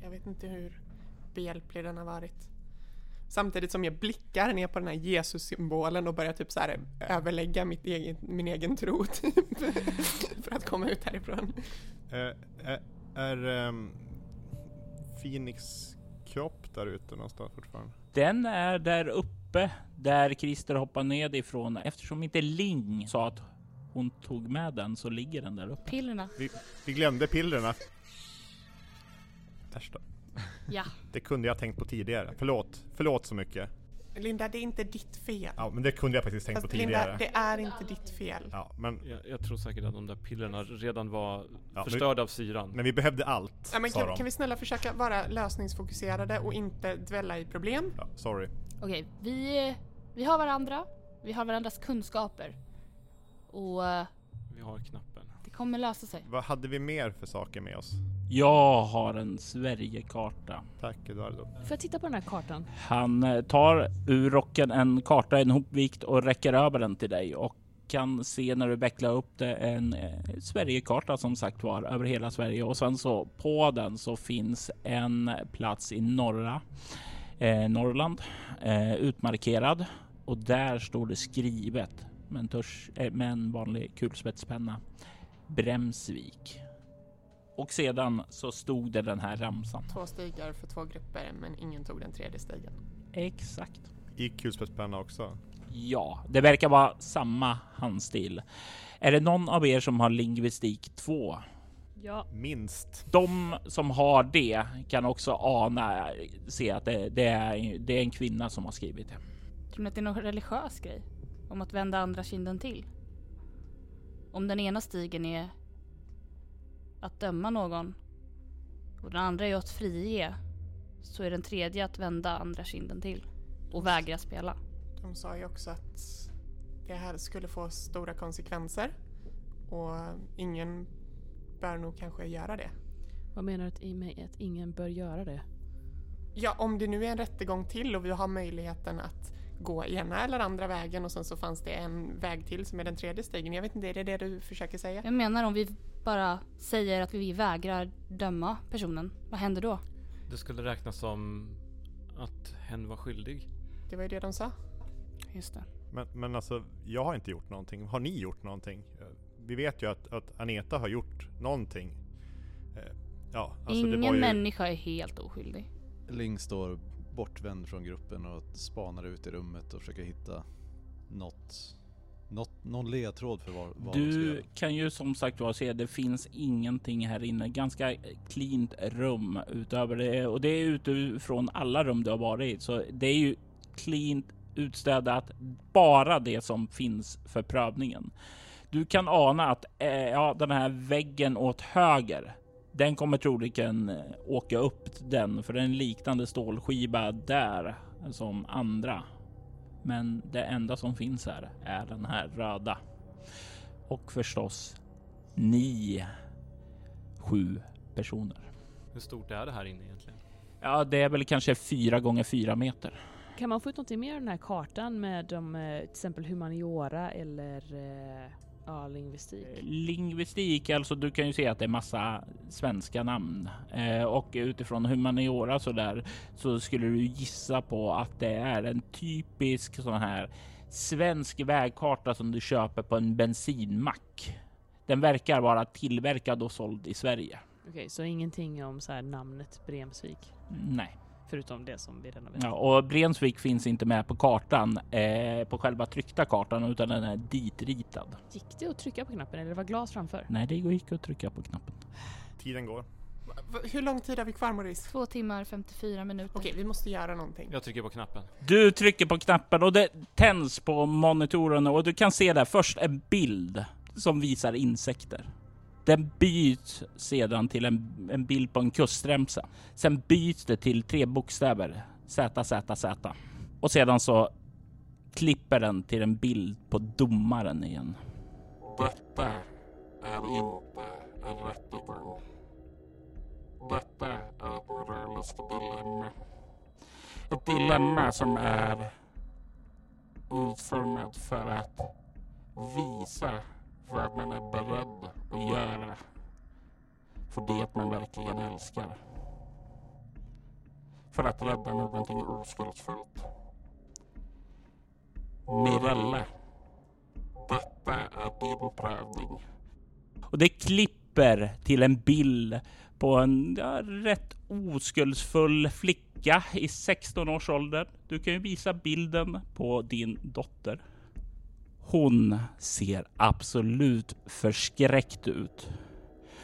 Speaker 6: Jag vet inte hur behjälplig den har varit. Samtidigt som jag blickar ner på den här Jesus-symbolen och börjar typ så här överlägga mitt egen, min egen tro typ. för att komma ut härifrån.
Speaker 11: Eh, eh, är ehm, Phoenix kropp där ute någonstans fortfarande?
Speaker 1: Den är där uppe där Christer hoppar ned ifrån. Eftersom inte Ling sa att hon tog med den så ligger den där uppe.
Speaker 12: Pillerna.
Speaker 11: Vi, vi glömde pillerna. Där står.
Speaker 12: Ja.
Speaker 11: Det kunde jag tänkt på tidigare. Förlåt. Förlåt så mycket.
Speaker 6: Linda, det är inte ditt fel.
Speaker 11: Ja, men det kunde jag faktiskt tänkt
Speaker 6: Fast
Speaker 11: på tidigare.
Speaker 6: Linda, det är inte ditt fel.
Speaker 11: Ja, men...
Speaker 13: jag, jag tror säkert att de där pillerna redan var
Speaker 11: men-
Speaker 13: förstörda av syran.
Speaker 11: Men vi behövde allt,
Speaker 6: Ja, men
Speaker 11: sa
Speaker 6: kan,
Speaker 11: de.
Speaker 6: kan vi snälla försöka vara lösningsfokuserade och inte dvälla i problem?
Speaker 11: Ja, sorry.
Speaker 12: Okej, vi, vi har varandra. Vi har varandras kunskaper. Och eh,
Speaker 13: Vi har knappen.
Speaker 12: det kommer lösa sig.
Speaker 11: Vad hade vi mer för saker med oss?
Speaker 1: Jag har en Sverigekarta.
Speaker 11: Tack Eduardo.
Speaker 3: Får jag titta på den här kartan?
Speaker 1: Han eh, tar ur rocken en karta, en hopvikt och räcker över den till dig och kan se när du vecklar upp det en eh, Sverigekarta som sagt var över hela Sverige och sen så på den så finns en plats i norra eh, Norrland eh, utmarkerad och där står det skrivet med en, törs, eh, med en vanlig kulspetspenna Bremsvik. Och sedan så stod det den här ramsan.
Speaker 6: Två stigar för två grupper, men ingen tog den tredje stigen.
Speaker 1: Exakt.
Speaker 11: I kulspetspenna också.
Speaker 1: Ja, det verkar vara samma handstil. Är det någon av er som har lingvistik 2?
Speaker 3: Ja.
Speaker 11: Minst.
Speaker 1: De som har det kan också ana, se att det, det, är, det är en kvinna som har skrivit det.
Speaker 12: Tror ni att det är någon religiös grej? Om att vända andra kinden till? Om den ena stigen är att döma någon och den andra är att frige så är den tredje att vända andra kinden till och vägra spela.
Speaker 6: De sa ju också att det här skulle få stora konsekvenser och ingen bör nog kanske göra det.
Speaker 3: Vad menar du att i mig att ingen bör göra det?
Speaker 6: Ja, om det nu är en rättegång till och vi har möjligheten att gå ena eller andra vägen och sen så fanns det en väg till som är den tredje stigen. Jag vet inte, är det det du försöker säga?
Speaker 12: Jag menar om vi bara säger att vi vägrar döma personen, vad händer då?
Speaker 11: Alltså,
Speaker 13: Det skulle räknas som att hen var skyldig.
Speaker 6: Det var ju det de sa.
Speaker 12: Just det.
Speaker 11: Men, men alltså, jag har inte gjort någonting. Har ni gjort någonting? Eh, Vi vet ju att, att Aneta har gjort någonting. Eh, Ja, alltså det var
Speaker 12: Ingen
Speaker 11: ju...
Speaker 12: människa är helt oskyldig.
Speaker 9: Ling står bortvänd från gruppen och spanar ut i rummet och försöker hitta något, något någon ledtråd för vad, vad de ska göra.
Speaker 1: Du kan ju som sagt var se, det finns ingenting här inne. Ganska cleant rum utöver det och det är utifrån alla rum du har varit i. Så det är ju cleant utstädat, bara det som finns för prövningen. Du kan ana att eh, ja, den här väggen åt höger, den kommer troligen eh, åka upp den för det är en liknande stålskiva där som andra. Men det enda som finns här är den här röda. Och förstås ni sju personer.
Speaker 13: Hur stort är det här inne egentligen?
Speaker 1: Ja, det är väl kanske fyra gånger fyra meter.
Speaker 3: Kan man få ut någonting mer av den här kartan med de, eh, till exempel humaniora eller eh, ja, lingvistik?
Speaker 1: Lingvistik, alltså du kan ju se att det är massa svenska namn eh, och utifrån humaniora så där så skulle du gissa på att det är en typisk sån här svensk vägkarta som du köper på en bensinmack. Den verkar vara tillverkad och såld i Sverige.
Speaker 3: Okej, så ingenting om så här namnet Bremsvik?
Speaker 1: Nej.
Speaker 3: Förutom det som vi redan vet.
Speaker 1: Ja, och Brensvik finns inte med på kartan, eh, på själva tryckta kartan, utan den är ditritad.
Speaker 3: Gick det att trycka på knappen eller det var glas framför?
Speaker 1: Nej, det gick att trycka på knappen.
Speaker 11: Tiden går.
Speaker 6: Hur lång tid har vi kvar Maurice?
Speaker 12: Två timmar 54 minuter.
Speaker 6: Okej, vi måste göra någonting.
Speaker 13: Jag trycker på knappen.
Speaker 1: Du trycker på knappen och det tänds på monitoren och du kan se där först en bild som visar insekter. Den byts sedan till en, en bild på en kustremsa. Sen byts det till tre bokstäver. Z, Z, Z. Och sedan så klipper den till en bild på domaren igen.
Speaker 16: Detta är inte en rättegång. Detta är ett moraliskt dilemma. Ett dilemma som är utformat för att visa vad man är beredd att göra för det man verkligen älskar. För att rädda någonting oskuldsfullt. Mirella, detta är din prövning.
Speaker 1: Och det klipper till en bild på en ja, rätt oskuldsfull flicka i 16 års ålder. Du kan ju visa bilden på din dotter. Hon ser absolut förskräckt ut.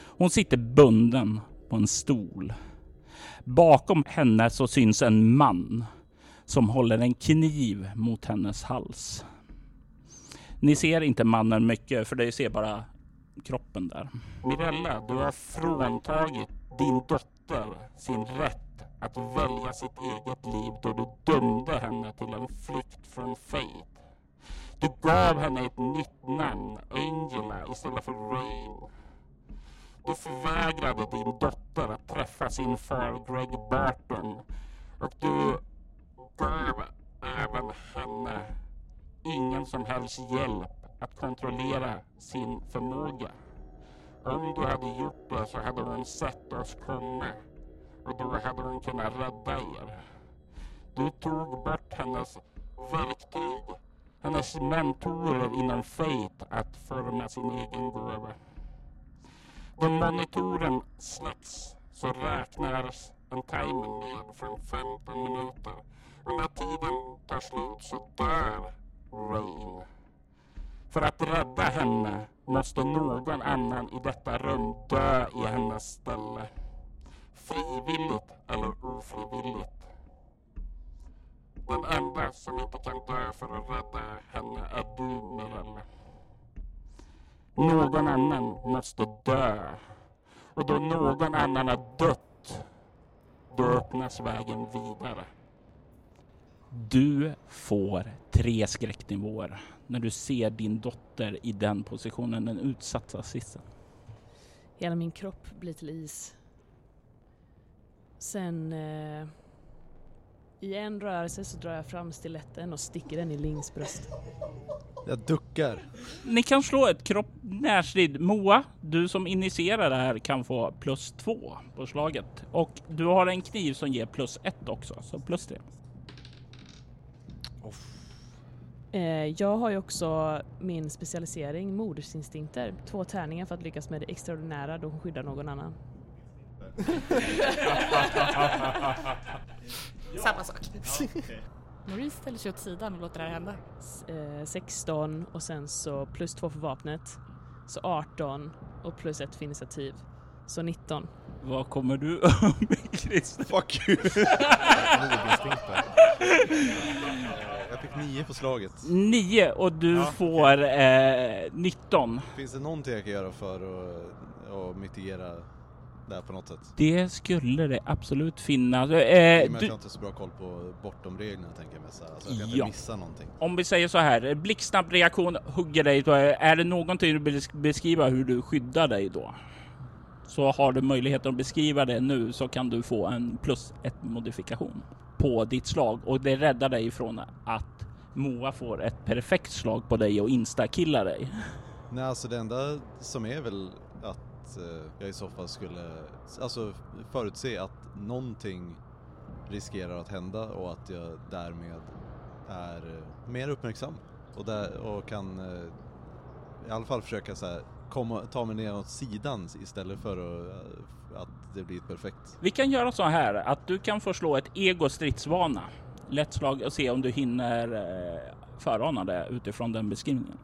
Speaker 1: Hon sitter bunden på en stol. Bakom henne så syns en man som håller en kniv mot hennes hals. Ni ser inte mannen mycket, för ni ser bara kroppen där.
Speaker 16: Mirella, du har fråntagit din dotter sin rätt att välja sitt eget liv då du dömde henne till en flykt från Fate. Du gav henne ett nytt namn, Angela, istället för Rain. Du förvägrade din dotter att träffa sin far Greg Burton och du gav även henne ingen som helst hjälp att kontrollera sin förmåga. Om du hade gjort det så hade hon sett oss komma och då hade hon kunnat rädda er. Du tog bort hennes verktyg, hennes mentorer inom Fate att forma sin egen gåva. Då monitoren släcks så räknas en timer ned från 15 minuter och när tiden tar slut så dör Rain. För att rädda henne måste någon annan i detta rum dö i hennes ställe. Frivilligt eller ofrivilligt. Den enda som inte kan dö för att rädda henne är du, Mirella. Någon annan måste dö. Och då någon annan har dött, då öppnas vägen vidare.
Speaker 1: Du får tre skräcknivåer när du ser din dotter i den positionen, den utsatta sitsen.
Speaker 15: Hela min kropp blir till is. Sen... Eh, I en rörelse så drar jag fram stiletten och sticker den i Lings bröst.
Speaker 9: Jag duckar.
Speaker 1: Ni kan slå ett kropp närstrid. Moa, du som initierar det här kan få plus två på slaget. Och du har en kniv som ger plus ett också, så plus tre. (laughs)
Speaker 15: Eh, jag har ju också min specialisering modersinstinkter. Två tärningar för att lyckas med det extraordinära då hon skyddar någon annan.
Speaker 10: Samma sak. Maurice ställer sig åt sidan och låter det här hända.
Speaker 15: S- eh, 16 och sen så plus två för vapnet. Så 18 och plus ett för initiativ. Så 19.
Speaker 1: Vad kommer du (laughs) med Christer?
Speaker 9: Fuck you! (laughs) Eh, Jag fick nio på slaget.
Speaker 1: Nio och du
Speaker 9: Ja.
Speaker 1: får eh, 19.
Speaker 9: Finns det någonting jag kan göra för att och mitigera det här på något sätt?
Speaker 1: Det skulle det absolut finnas.
Speaker 9: I och
Speaker 1: Eh,
Speaker 9: med att
Speaker 1: du,
Speaker 9: jag inte har så bra koll på bortom reglerna tänker jag mig så här. Alltså, jag kan
Speaker 1: Ja.
Speaker 9: inte missa någonting.
Speaker 1: om vi säger så här, blixtsnabb reaktion hugger dig. Då är är det någonting du vill beskriva hur du skyddar dig då? Så har du möjlighet att beskriva det nu så kan du få en plus ett modifikation på ditt slag och det räddar dig från att Moa får ett perfekt slag på dig och instakillar dig.
Speaker 9: Nej, alltså det enda som är väl att eh, jag i så fall skulle alltså, förutse att någonting riskerar att hända och att jag därmed är eh, mer uppmärksam och, där, och kan eh, i alla fall försöka så här, komma, ta mig ner åt sidan istället för att, eh, att det blir perfekt.
Speaker 1: Vi kan göra så här att du kan få slå ett ego stridsvana. Lätt slag och se om du hinner eh, förana det utifrån den beskrivningen.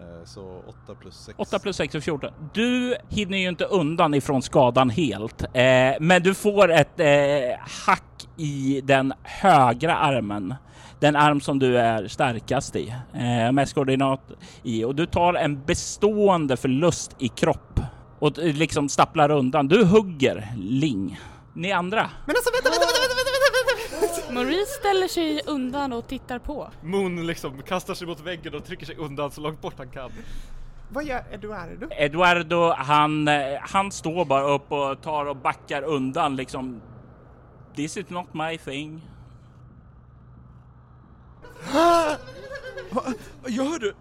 Speaker 9: Eh, Så 8 plus 6.
Speaker 1: 8 plus 6 är 14. Du hinner ju inte undan ifrån skadan helt, eh, men du får ett eh, hack i den högra armen. Den arm som du är starkast i, eh, mest koordinat i. Och du tar en bestående förlust i kropp och eh, liksom stapplar undan. Du hugger Ling. Ni andra,
Speaker 10: Men alltså vänta, vänta, vänta, vänta, vänta, vänta! Maurice ställer sig undan och tittar på.
Speaker 13: Moon liksom kastar sig mot väggen och trycker sig undan så långt bort han kan.
Speaker 6: Vad gör Eduardo?
Speaker 1: Eduardo, han, eh, han står bara upp och tar och backar undan liksom. This is not my thing.
Speaker 9: Vad gör du?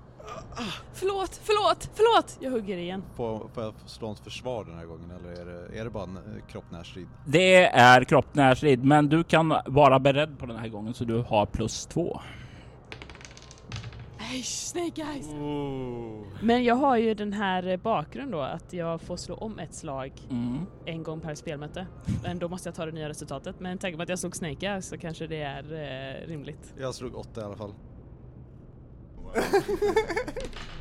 Speaker 3: Förlåt, förlåt, förlåt! Jag hugger igen.
Speaker 9: Får, får jag slå ett försvar den här gången eller är det, är det bara en eh, kroppnärstrid?
Speaker 1: Det är kroppnärstrid, men du kan vara beredd på den här gången så du har plus två.
Speaker 3: Nej, Snake Eyes!
Speaker 13: Oh.
Speaker 15: Men jag har ju den här eh, bakgrunden då att jag får slå om ett slag
Speaker 1: Mm.
Speaker 15: en gång per spelmöte. Men då måste jag ta det nya resultatet. Men tanke på att jag slog Snake Eyes så kanske det är eh, rimligt.
Speaker 9: Jag slog 8 i alla fall.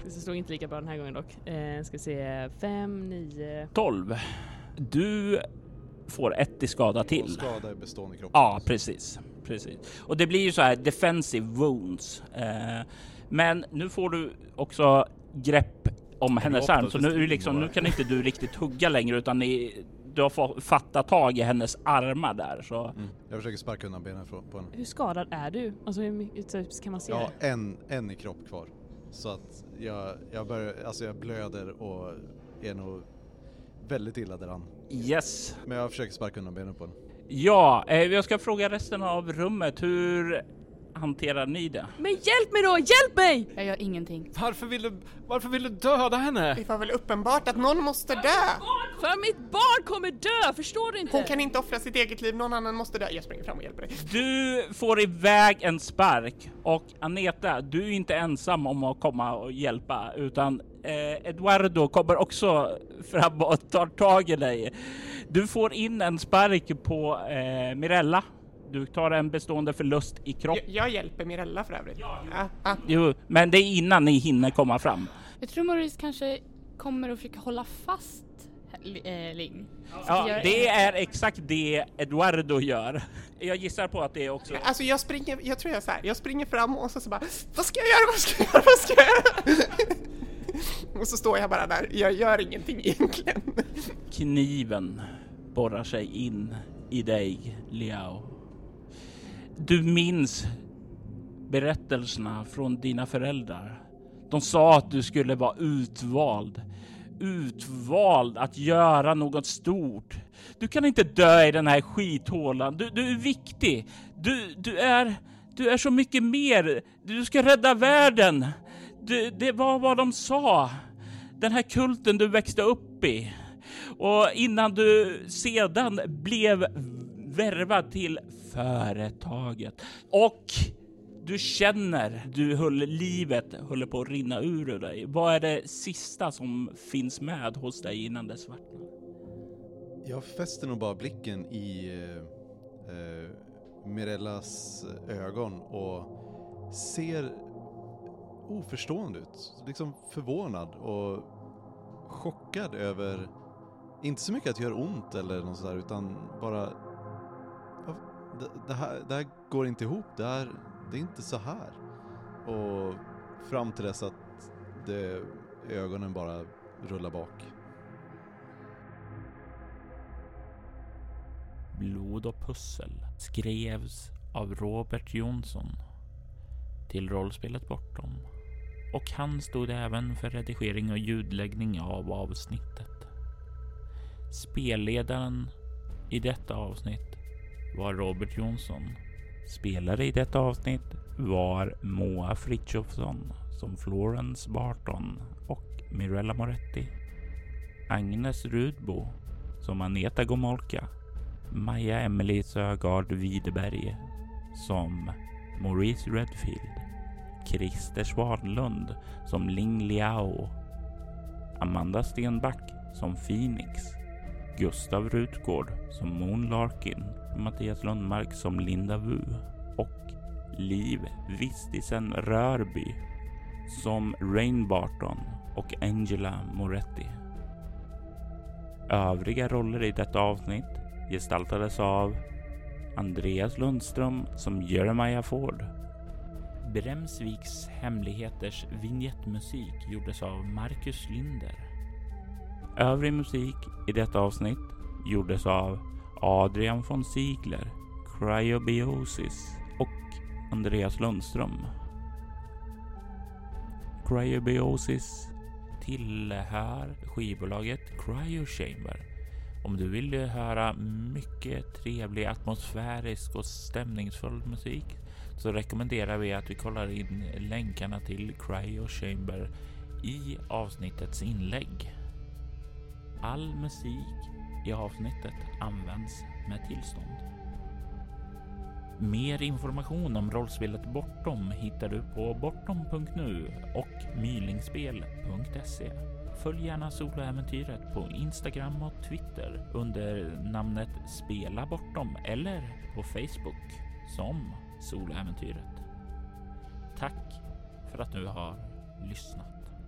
Speaker 15: Det slog inte lika bra den här gången dock. Eh, ska se, 5, 9...
Speaker 1: 12. Du får ett i skada till.
Speaker 9: Skada är bestående i kroppen.
Speaker 1: Ja, precis. precis. Och det blir ju så här defensive wounds. Eh, men nu får du också grepp om hennes
Speaker 5: hoppar
Speaker 1: arm, så
Speaker 5: till
Speaker 1: nu, är det liksom,
Speaker 5: Stina
Speaker 1: nu
Speaker 5: bara.
Speaker 1: kan inte du riktigt hugga längre utan ni, du har fa- fattat tag i hennes armar där. Så.
Speaker 9: Jag försöker sparka undan benen från- på henne.
Speaker 15: Hur skadad är du? Alltså hur mycket typ, kan man se
Speaker 9: Jag har
Speaker 15: det?
Speaker 9: en, en i kropp kvar. Så att jag, jag börjar, alltså jag blöder och är nog väldigt illa däran.
Speaker 1: Yes.
Speaker 9: Men jag försöker sparka undan benen på henne.
Speaker 1: Ja, eh, jag ska fråga resten av rummet. Hur hanterar ni det?
Speaker 12: Men hjälp mig då, hjälp mig! Jag gör ingenting.
Speaker 13: Varför vill du, varför vill du döda henne?
Speaker 6: Det var väl uppenbart att någon måste dö!
Speaker 17: För mitt barn kommer dö, förstår du inte?
Speaker 6: Hon kan inte offra sitt eget liv, någon annan måste dö. Jag springer fram och hjälper dig.
Speaker 1: Du får iväg en spark och Aneta, du är inte ensam om att komma och hjälpa utan eh, Eduardo kommer också (laughs) fram och tar tag i dig. Du får in en spark på eh, Mirella. Du tar en bestående förlust i kroppen.
Speaker 6: Jag, jag hjälper Mirella för övrigt. Ja, ah,
Speaker 1: Jo, men det är innan ni hinner komma fram.
Speaker 12: Jag tror Maurice kanske kommer att försöka hålla fast Li- eh, Ling.
Speaker 1: Ja, det är exakt det Eduardo gör. Jag gissar på att det är också...
Speaker 6: Alltså jag springer, jag tror jag är så här. jag springer fram och så, så bara Vad ska jag göra, vad ska jag göra, vad ska jag göra? (laughs) och så står jag bara där, jag gör ingenting egentligen.
Speaker 1: Kniven borrar sig in i dig, Liao. Du minns berättelserna från dina föräldrar. De sa att du skulle vara utvald. Utvald att göra något stort. Du kan inte dö i den här skithålan. Du, du är viktig. Du, du, är, du är så mycket mer. Du ska rädda världen. Du, det var vad de sa. Den här kulten du växte upp i. Och innan du sedan blev värvad till företaget. Och du känner, du höll livet håller på att rinna ur ur dig. Vad är det sista som finns med hos dig innan det svartnar?
Speaker 9: Jag fäster nog bara blicken i eh, eh, Mirellas ögon och ser oförstående ut. Liksom förvånad och chockad över, inte så mycket att det gör ont eller något sådär utan bara "Ja, det, det, här, det här går inte ihop, det, här, det är inte så här. Och fram till dess att det, ögonen bara rullar bak.
Speaker 5: Blod och pussel skrevs av Robert Jonsson till rollspelet Bortom och han stod även för redigering och ljudläggning av avsnittet. Spelledaren i detta avsnitt var Robert Jonsson. Spelare i detta avsnitt var Moa Frithiofsson som Florence Barton och Mirella Moretti. Agnes Rudbo som Aneta Gomolka. Maja Emily Sögaard Widerberg som Maurice Redfield. Christer Svanlund som Ling Liao. Amanda Stenback som Phoenix. Gustav Rutgård som Moon Larkin. Mattias Lundmark som Linda Wu. Och Liv Vistisen Rörby som Rain Barton och Angela Moretti. Övriga roller i detta avsnitt gestaltades av Andreas Lundström som Jeremiah Ford. Bremsviks hemligheters vignettmusik gjordes av Marcus Linder. Övrig musik i detta avsnitt gjordes av Adrian von Ziegler, Cryobiosis och Andreas Lundström. Cryobiosis tillhör skivbolaget Cryo Chamber. Om du vill höra mycket trevlig atmosfärisk och stämningsfull musik så rekommenderar vi att vi kollar in länkarna till Cryo Chamber i avsnittets inlägg. All musik i avsnittet används med tillstånd. Mer information om rollspelet Bortom hittar du på bortom.nu och mylingspel.se. Följ gärna soloäventyret på Instagram och Twitter under namnet Spela Bortom eller på Facebook som Soloäventyret. Tack för att du har lyssnat.